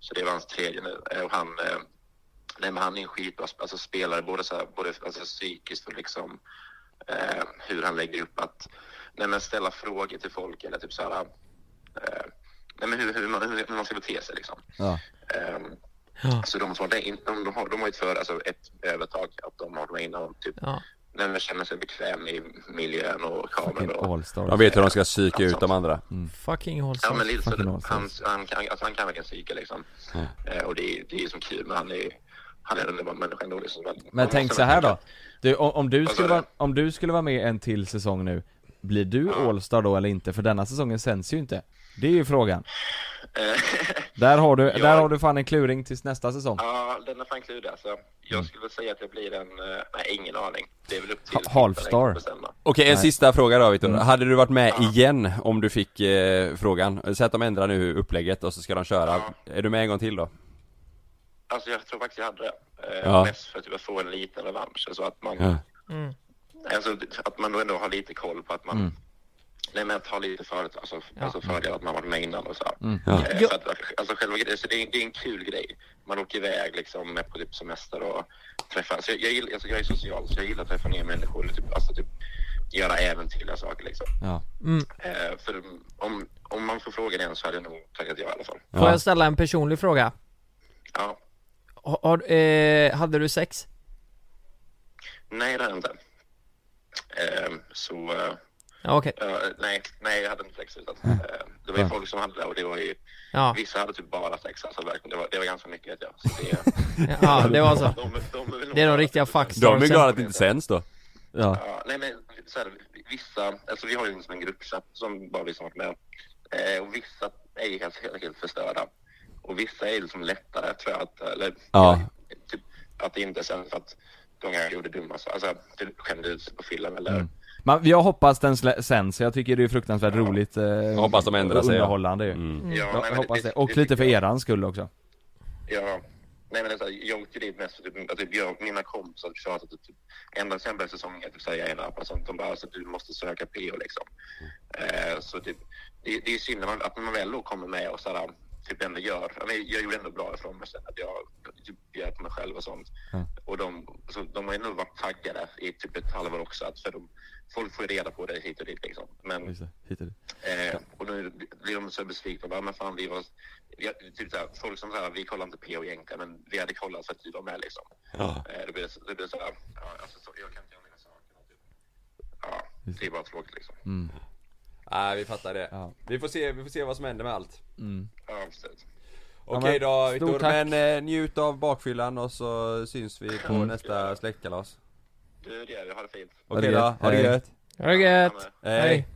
[SPEAKER 10] Så det var hans tredje nu. Eh, Och han, eh, nej, men han är en skitbra sp- alltså, spelare, både, så här, både alltså, psykiskt och liksom, eh, hur han lägger upp att nej, men ställa frågor till folk eller typ så här, eh, nej, men hur, hur, man, hur man ska bete sig liksom.
[SPEAKER 2] Ja.
[SPEAKER 10] Ehm, Så de som har det, in- de, de har, de har ju ett, för, alltså ett övertag, att de har det innan typ, när de känner sig bekväm i miljön och kameran. och-
[SPEAKER 7] De vet hur de ska psyka ut de andra.
[SPEAKER 8] Fucking Holsters.
[SPEAKER 10] Ja men lite
[SPEAKER 8] Fucking
[SPEAKER 10] så,
[SPEAKER 8] Holsters.
[SPEAKER 10] han, han, kan- alltså, han kan verkligen psyka liksom. Eh, och det, är- det är ju som kul, men han är ju, han är en underbar människa ändå liksom.
[SPEAKER 2] Men
[SPEAKER 10] man
[SPEAKER 2] tänk
[SPEAKER 10] måste
[SPEAKER 2] så här då.
[SPEAKER 10] verkligen-
[SPEAKER 2] Du, om, om, du
[SPEAKER 10] Vad sa
[SPEAKER 2] skulle
[SPEAKER 10] du?
[SPEAKER 2] vara, om du skulle vara med en till säsong nu, blir du All-Star då eller inte? För denna säsongen sänds ju inte. Det är ju frågan.
[SPEAKER 10] Eh,
[SPEAKER 2] Där har du,
[SPEAKER 10] jag-
[SPEAKER 2] där har du fan en kluring tills nästa säsong.
[SPEAKER 10] Ja, den är fan klurig alltså. Jag skulle säga att det blir en, eh, nej ingen aning. Det är väl upp till
[SPEAKER 2] Halfstar.
[SPEAKER 7] Okej, en
[SPEAKER 2] Nej.
[SPEAKER 7] sista fråga då Victor.
[SPEAKER 2] Mm.
[SPEAKER 7] Hade du varit med igen om du fick eh, frågan? Säg att de ändrar nu upplägget och så ska de köra. Är du med en gång till då?
[SPEAKER 10] Alltså jag tror faktiskt jag hade det. Eh,
[SPEAKER 7] Ja.
[SPEAKER 10] Mest för att typ, få en liten revansch. Så att man,
[SPEAKER 7] Ja.
[SPEAKER 8] Mm.
[SPEAKER 10] alltså, att man ändå har lite koll på att man
[SPEAKER 7] Mm.
[SPEAKER 10] Nej men att ha lite för, alltså,
[SPEAKER 8] Ja.
[SPEAKER 10] alltså fördel att man varit med innan och så. här.
[SPEAKER 7] Mm. Ja.
[SPEAKER 10] Eh, för att, alltså själva grejen, så det är, det är en kul grej. Man åker iväg liksom på typ semester och träffar, alltså, jag, jag, gillar, alltså, jag är social så jag gillar att träffa nya människor och typ, alltså, typ göra äventyrliga saker liksom.
[SPEAKER 2] Ja.
[SPEAKER 7] Mm.
[SPEAKER 10] Eh, för om, om man får frågan igen så hade jag nog tackat ja i alla fall.
[SPEAKER 8] Får jag ställa en personlig fråga?
[SPEAKER 10] Ja.
[SPEAKER 8] Har, har, eh, hade du sex?
[SPEAKER 10] Nej, det hade jag inte. Ehm, så... eh,
[SPEAKER 8] Ja, okej.
[SPEAKER 10] eh, nej, nej, jag hade inte sex. Utan, eh, det var ju folk som hade det och det var ju...
[SPEAKER 8] Ja.
[SPEAKER 10] Vissa hade typ bara sex. Alltså, verkligen, det, var, det var ganska mycket vet jag. Så det,
[SPEAKER 8] Ja, det var så.
[SPEAKER 10] De, de, de,
[SPEAKER 8] Det är de riktiga
[SPEAKER 7] De är
[SPEAKER 8] fuckstarsen.
[SPEAKER 7] glada att det inte sänds då.
[SPEAKER 2] Ja.
[SPEAKER 10] Ja, nej men så här, vissa, alltså vi har ju liksom en gruppchatt som bara vi som varit med. Eh, och vissa är ju helt, helt, helt förstörda. Och vissa är liksom lättare tror jag att, eller typ,
[SPEAKER 7] Ja.
[SPEAKER 10] att det inte är sen för att de kanske gjorde dumma saker. Alltså typ skämde ut sig på film eller
[SPEAKER 2] Men jag hoppas den slä- sänds, jag tycker det är fruktansvärt roligt. Eh, jag
[SPEAKER 7] hoppas de ändrar sig, ja.
[SPEAKER 2] Underhållande ju.
[SPEAKER 7] Mm.
[SPEAKER 10] Ja, nej, men
[SPEAKER 2] jag
[SPEAKER 10] det-
[SPEAKER 2] hoppas det.
[SPEAKER 10] det-
[SPEAKER 2] Och
[SPEAKER 10] det
[SPEAKER 2] lite för
[SPEAKER 10] tycker
[SPEAKER 2] eran skull också.
[SPEAKER 10] Ja. Nej men alltså, jag åkte dit mest för typ, att typ jag, mina kompisar tjatade typ, typ ända sedan började säsongen typ säga en app, alltså, de bara alltså, du måste söka PO liksom. Eh, så typ, det, det är synd när man, att man väl då kommer med och sådär, typ ändå gör, jag, men, jag gjorde ändå bra ifrån mig sen att jag typ, hjälpte mig själv och sånt. Och de, så, de har ju ändå varit taggade i typ ett halvår också, att, för de, folk får ju reda på det hit och dit liksom. Men
[SPEAKER 2] Hit och dit.
[SPEAKER 10] Eh, och nu blir de så besvikna. Bara, men fan, vi var, vi, typ såhär, folk som säger vi kollar inte PO egentligen, men vi hade kollat för att vi var med liksom.
[SPEAKER 7] Ja.
[SPEAKER 10] Eh, det blir, så- det blir så här, ja, alltså, så, jag kan inte göra mina saker. Typ. Ja, det är bara tråkigt liksom.
[SPEAKER 2] Mm.
[SPEAKER 7] Nej, vi fattar det. Vi, får se, vi får se vad som händer med allt.
[SPEAKER 2] Mm.
[SPEAKER 10] Ja, absolut.
[SPEAKER 7] Okej
[SPEAKER 2] Ja,
[SPEAKER 7] då
[SPEAKER 2] men,
[SPEAKER 7] Victor,
[SPEAKER 2] stort tack.
[SPEAKER 7] men eh, njut av bakfyllan och så syns vi på
[SPEAKER 2] Mm.
[SPEAKER 7] nästa släktkalas.
[SPEAKER 10] Du, det gör vi. Ha det fint.
[SPEAKER 7] Okej då, ha det gött.
[SPEAKER 8] Ha det gött.
[SPEAKER 7] Hej.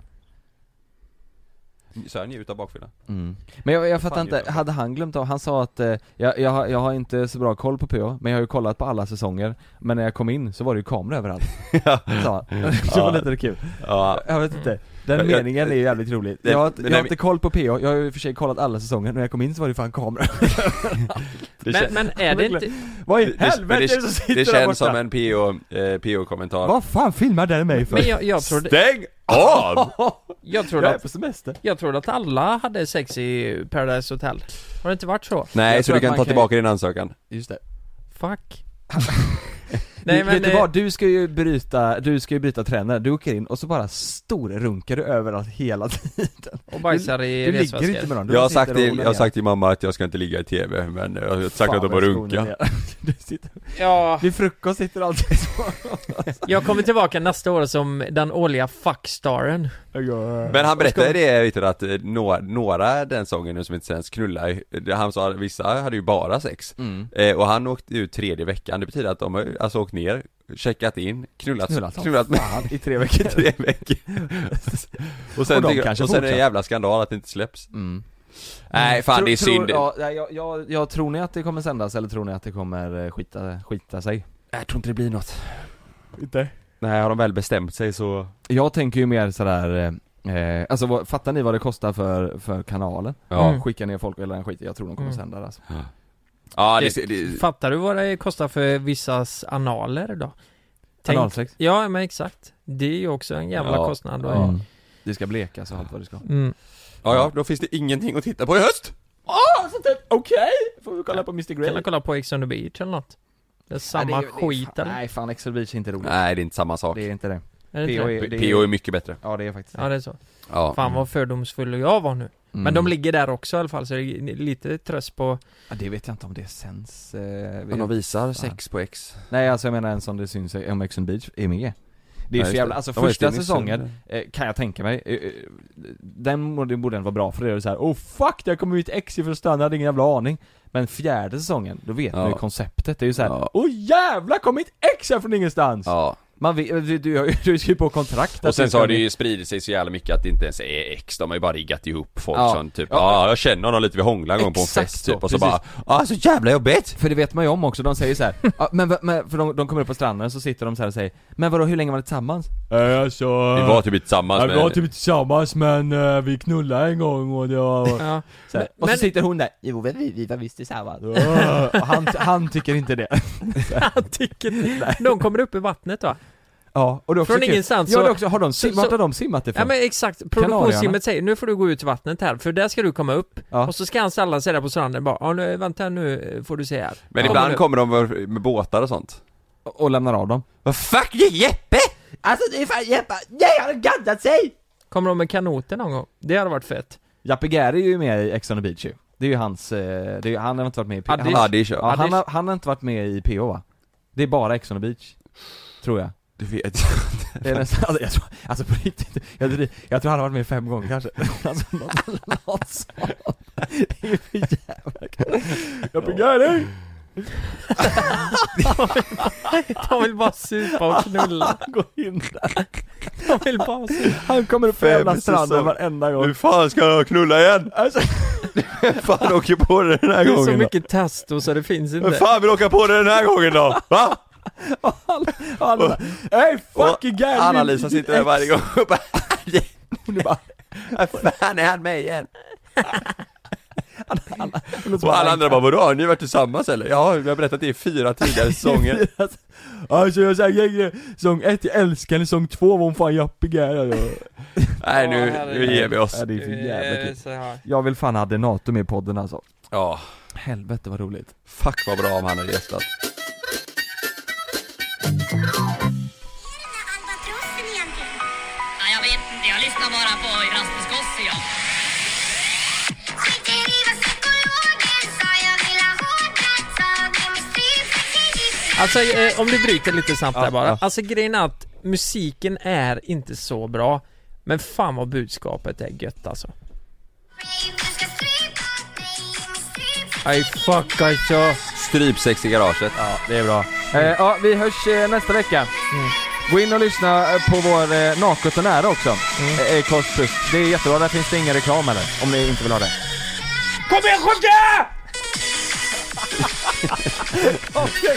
[SPEAKER 7] Sa jag njut av bakfyllan?
[SPEAKER 2] Mm. Men jag, jag fattar
[SPEAKER 7] Fan,
[SPEAKER 2] inte,
[SPEAKER 7] Jonas.
[SPEAKER 2] hade han glömt av, han sa att eh, jag, jag, har- jag har inte så bra koll på PO, men jag har ju kollat på alla säsonger Men när jag kom in så var det ju kameror överallt ja. så, Det var
[SPEAKER 7] Ja.
[SPEAKER 2] lite kul
[SPEAKER 7] Ja.
[SPEAKER 2] Jag vet inte, den
[SPEAKER 7] Jag- jag-
[SPEAKER 2] meningen är ju jävligt rolig
[SPEAKER 7] Det-
[SPEAKER 2] Jag har,
[SPEAKER 7] men
[SPEAKER 2] jag
[SPEAKER 7] när
[SPEAKER 2] har
[SPEAKER 7] vi-
[SPEAKER 2] inte koll på PO, jag har ju i och för sig kollat alla säsonger, när jag kom in så var det fan kameror
[SPEAKER 8] Men- kän- men är det inte-
[SPEAKER 2] Vad i
[SPEAKER 7] Det-
[SPEAKER 2] helvete
[SPEAKER 7] men
[SPEAKER 2] är det som sitter
[SPEAKER 7] Det
[SPEAKER 2] där borta?
[SPEAKER 7] känns som en PO, eh, PO-kommentar.
[SPEAKER 2] Vad fan filmar den mig för?
[SPEAKER 8] Men jag, jag trodde...
[SPEAKER 7] Stäng av!
[SPEAKER 8] Jag
[SPEAKER 2] Jag
[SPEAKER 8] trodde
[SPEAKER 2] är på
[SPEAKER 8] att...
[SPEAKER 2] semester.
[SPEAKER 8] Jag trodde att alla hade sex i Paradise Hotel. Har det inte varit så?
[SPEAKER 7] Nej,
[SPEAKER 2] Jag
[SPEAKER 7] så
[SPEAKER 2] tror
[SPEAKER 7] du
[SPEAKER 2] att
[SPEAKER 7] kan
[SPEAKER 2] man
[SPEAKER 7] ta
[SPEAKER 2] kan
[SPEAKER 7] tillbaka din ansökan.
[SPEAKER 2] Just det
[SPEAKER 8] Fuck.
[SPEAKER 2] Nej, men, vet du
[SPEAKER 8] eh,
[SPEAKER 2] vad? Du ska ju bryta, du ska ju bryta trenden, du åker in och så bara storrunkar du överallt hela tiden
[SPEAKER 8] eh, Och bajsar i
[SPEAKER 2] Du, du ligger
[SPEAKER 8] resväskor.
[SPEAKER 2] inte med någon, du
[SPEAKER 7] Jag
[SPEAKER 2] bara
[SPEAKER 7] har
[SPEAKER 2] sitter
[SPEAKER 7] sagt
[SPEAKER 2] och
[SPEAKER 7] till,
[SPEAKER 2] onanerar.
[SPEAKER 7] jag har sagt till mamma att jag ska inte ligga i TV, men jag har sagt
[SPEAKER 2] Fan,
[SPEAKER 7] att de får
[SPEAKER 2] vad skolan
[SPEAKER 7] runka.
[SPEAKER 2] är. Du sitter,
[SPEAKER 8] Ja.
[SPEAKER 2] vid frukost sitter du alltid så
[SPEAKER 8] Jag kommer tillbaka nästa år som den årliga fuckstaren.
[SPEAKER 7] Men han berättade
[SPEAKER 8] Och ska-
[SPEAKER 7] det Victor att eh, några, några den sången nu som inte sänds knullar ju- det- Han sa att vissa hade ju bara sex
[SPEAKER 2] Mm.
[SPEAKER 7] eh, Och han åkte ut tredje veckan, det betyder att de har ju alltså åkt ner, checkat in, knullat,
[SPEAKER 2] Knullat som
[SPEAKER 7] med
[SPEAKER 2] fan i tre veckor.
[SPEAKER 7] i tre veckor Och sen,
[SPEAKER 2] Och de
[SPEAKER 7] tycker-
[SPEAKER 2] kanske
[SPEAKER 7] och sen är det en
[SPEAKER 2] fortsätter.
[SPEAKER 7] jävla skandal att det inte släpps Nej fan
[SPEAKER 2] Tror-
[SPEAKER 7] det är
[SPEAKER 2] Mm. tror,
[SPEAKER 7] synd
[SPEAKER 2] Ja, nej, jag, jag, jag, tror ni att det kommer sändas eller tror ni att det kommer eh, skita, skita sig?
[SPEAKER 7] Jag tror inte det blir något
[SPEAKER 2] Inte?
[SPEAKER 7] Nej har de väl bestämt sig så
[SPEAKER 2] Jag tänker ju mer sådär, eh, eh, alltså vad, fattar ni vad det kostar för, för kanalen?
[SPEAKER 7] Ja.
[SPEAKER 2] Mm. Skicka ner folk eller den skit, jag tror de kommer
[SPEAKER 8] Mm.
[SPEAKER 2] sända det alltså.
[SPEAKER 7] Ja det,
[SPEAKER 8] Det- Fattar du vad det kostar för vissas analer då?
[SPEAKER 2] Analsex?
[SPEAKER 8] Ja, men exakt. Det är ju också en jävla kostnad. då.
[SPEAKER 2] ja. Det ska blekas och allt vad det ska
[SPEAKER 8] Mm.
[SPEAKER 7] Ja ja, då finns det ingenting att titta på i höst!
[SPEAKER 2] Ah, så typ, okej! Får vi kolla på Mr Grey?
[SPEAKER 8] Kan man kolla på Ex on the Beach eller något? Det är samma
[SPEAKER 2] Nej, det är- det är
[SPEAKER 8] skit
[SPEAKER 2] fan-
[SPEAKER 8] eller?
[SPEAKER 2] Nej fan, Ex on the Beach är inte roligt
[SPEAKER 7] Nej det är inte samma sak
[SPEAKER 2] Det är inte det
[SPEAKER 8] Är det inte
[SPEAKER 2] PO
[SPEAKER 8] det?
[SPEAKER 2] är, det
[SPEAKER 7] PO är mycket bättre.
[SPEAKER 2] Ja det är faktiskt
[SPEAKER 8] Ja det är så.
[SPEAKER 7] Ja.
[SPEAKER 8] Fan vad fördomsfull jag var nu. Men
[SPEAKER 2] Mm.
[SPEAKER 8] de ligger där också i alla fall så det är lite tröst på
[SPEAKER 2] Ja, det vet jag inte om det sänds eh,
[SPEAKER 7] Men de visar sex på X
[SPEAKER 2] Nej alltså jag menar en som det syns i- om Ex on Beach är med Det är
[SPEAKER 7] Ja,
[SPEAKER 2] så
[SPEAKER 7] just
[SPEAKER 2] jävla,
[SPEAKER 7] det.
[SPEAKER 2] alltså
[SPEAKER 7] De var ju
[SPEAKER 2] första
[SPEAKER 7] still nyss,
[SPEAKER 2] säsongen eh, kan jag tänka mig eh, eh, Den borde, borde den vara bra för det är så här, oh fuck det har kommit ut X ifrån stanna, jag hade ingen jävla aning Men fjärde säsongen, då vet man ju
[SPEAKER 7] Ja.
[SPEAKER 2] konceptet, det är ju så här, oh jävlar kom ett X här från ingenstans!
[SPEAKER 7] Ja
[SPEAKER 2] Man vet, eh, du, du, har ju- du skriver på kontrakt att
[SPEAKER 7] Och sen
[SPEAKER 2] du
[SPEAKER 7] så
[SPEAKER 2] ska
[SPEAKER 7] har det
[SPEAKER 2] bli-
[SPEAKER 7] ju spridit sig så jävla mycket att det inte ens är X, de har ju bara riggat ihop folk
[SPEAKER 2] Ja.
[SPEAKER 7] som typ
[SPEAKER 2] Ja.
[SPEAKER 7] ja. jag känner honom lite, vi hånglade en gång på en
[SPEAKER 2] Exakt
[SPEAKER 7] fest
[SPEAKER 2] så,
[SPEAKER 7] typ och så
[SPEAKER 2] precis.
[SPEAKER 7] bara ah så jävla jobbigt!
[SPEAKER 2] För det vet man ju om också, de säger så här, "Ja, men, va- men, för de, de kommer upp på stranden så sitter de så här och säger Men vadå hur länge var ni tillsammans?
[SPEAKER 7] Äh, alltså, vi var typ tillsammans
[SPEAKER 2] Ja, vi var typ tillsammans men eh, vi knullade en gång och det var...
[SPEAKER 8] Ja.
[SPEAKER 2] Så här.
[SPEAKER 8] Men-
[SPEAKER 2] Och så
[SPEAKER 8] men-
[SPEAKER 2] sitter hon där, jo men vi, vi var visst tillsammans och han, han tycker inte det
[SPEAKER 8] De kommer upp i vattnet va?
[SPEAKER 2] Ja, och det är också
[SPEAKER 8] Från
[SPEAKER 2] kul.
[SPEAKER 8] ingenstans
[SPEAKER 2] ja,
[SPEAKER 8] så-
[SPEAKER 2] det är också, har de
[SPEAKER 8] så-
[SPEAKER 2] simmat,
[SPEAKER 8] så-
[SPEAKER 2] har de simmat ifrån?
[SPEAKER 8] Ja men exakt, produktionssimmet säger nu får du gå ut i vattnet här för där ska du komma upp och så ska han ställa sig där på stranden bara ja nu, vänta nu eh, får du se här
[SPEAKER 7] Men
[SPEAKER 8] Kommer
[SPEAKER 7] ibland
[SPEAKER 8] nu.
[SPEAKER 7] kommer de med- med båtar och sånt
[SPEAKER 2] Och, lämnar av dem
[SPEAKER 7] Vad fuck det är Jeppe!
[SPEAKER 2] Alltså det är fan Jeppe, nej han har gaddat sig!
[SPEAKER 8] Kommer de med kanoter någon gång? Det hade varit fett
[SPEAKER 2] Jappe Gary är ju med i Ex on the beach ju Det är ju hans, eh, det är, ju- han har inte varit med i P-
[SPEAKER 7] Addish.
[SPEAKER 2] han,
[SPEAKER 7] Addish, ja.
[SPEAKER 2] ja, han,
[SPEAKER 7] Addish.
[SPEAKER 2] har, han har inte varit med i PO va? Det är bara Ex on the beach Tror jag
[SPEAKER 7] Du vet
[SPEAKER 2] Det är nästan, alltså, jag tror, alltså på riktigt, jag, tror- jag tror han har varit med fem gånger kanske Alltså något, något sånt Det är ju för jävla kul. Jag begär dig!
[SPEAKER 8] De vill bara supa och knulla
[SPEAKER 2] Gå in där
[SPEAKER 8] De vill bara supa
[SPEAKER 2] Han kommer upp på jävla stranden varenda gång
[SPEAKER 7] Hur fan ska jag knulla igen?
[SPEAKER 2] Alltså
[SPEAKER 7] fan åker på det den här
[SPEAKER 8] Det är så
[SPEAKER 7] gången då?
[SPEAKER 8] mycket testo så det finns inte
[SPEAKER 7] Vem fan vill åka på det den här gången då? Va?
[SPEAKER 2] Alla, hey fucking
[SPEAKER 7] Och
[SPEAKER 2] Gary!
[SPEAKER 7] Anna-Lisa sitter där varje gång och bara
[SPEAKER 2] Hon är bara
[SPEAKER 7] Fan är han med igen?
[SPEAKER 2] hon är så
[SPEAKER 7] Och alla andra bara vadå, har ni varit tillsammans eller? Ja, vi har berättat det i fyra tidigare säsonger
[SPEAKER 2] Alltså jag säger sång 1 jag älskar sång 2 var hon fan jappig här
[SPEAKER 7] Nej nu, nu ger vi oss
[SPEAKER 2] Ja, det är för jävla kul.
[SPEAKER 8] Eh, så här.
[SPEAKER 2] Jag vill fan ha Denato med i podden alltså
[SPEAKER 7] Ja,
[SPEAKER 2] Helvete vad roligt
[SPEAKER 7] fuck vad bra om han hade gästat
[SPEAKER 3] Ja, jag vet inte, jag lyssnar bara på Rasmus Gossi jag. Skiter i vad psykologen sa, jag vill ha hårda tag. Ge mig stryk,
[SPEAKER 8] Alltså eh, om du bryter lite snabbt där
[SPEAKER 2] Ja,
[SPEAKER 8] bara.
[SPEAKER 2] ja.
[SPEAKER 8] Alltså grejen är att musiken är inte så bra. Men fan vad budskapet är gött alltså. I fuck alltså.
[SPEAKER 7] Strypsex i garaget
[SPEAKER 2] Ja, det är bra eh, Ja, vi hörs eh, nästa vecka Gå in och lyssna eh, på vår eh, Naket och nära också mm. eh, Kost plus. Det är jättebra, där finns det ingen reklam heller Om ni inte vill ha det
[SPEAKER 11] Kom igen Skövde!
[SPEAKER 2] Kom igen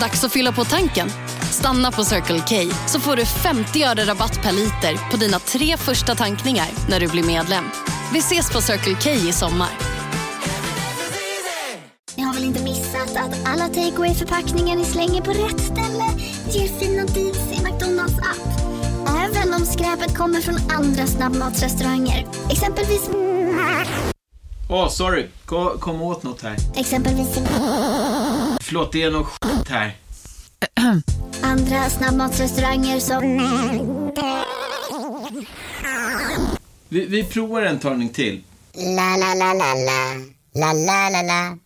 [SPEAKER 12] Dags att fylla på tanken. Stanna på Circle K så får du 50 öre rabatt per liter på dina tre första tankningar när du blir medlem. Vi ses på Circle K i sommar.
[SPEAKER 13] Ni har väl inte missat att alla takeaway förpackningar ni slänger på rätt ställe ger fina deals i McDonalds app. Även om skräpet kommer från andra snabbmatsrestauranger. Exempelvis...
[SPEAKER 14] Åh, sorry. Kom, kom åt något här.
[SPEAKER 13] Exempelvis...
[SPEAKER 14] Förlåt, det är något skit här.
[SPEAKER 13] Andra snabbmatsrestauranger som...
[SPEAKER 14] Vi, vi provar en talning till.
[SPEAKER 15] La, la, la, la, la. La, la, la, la.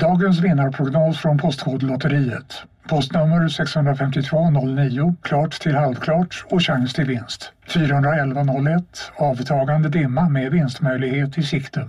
[SPEAKER 16] Dagens vinnarprognos från Postkodlotteriet. Postnummer 65209, klart till halvklart och chans till vinst. 41101, avtagande dimma med vinstmöjlighet i sikte.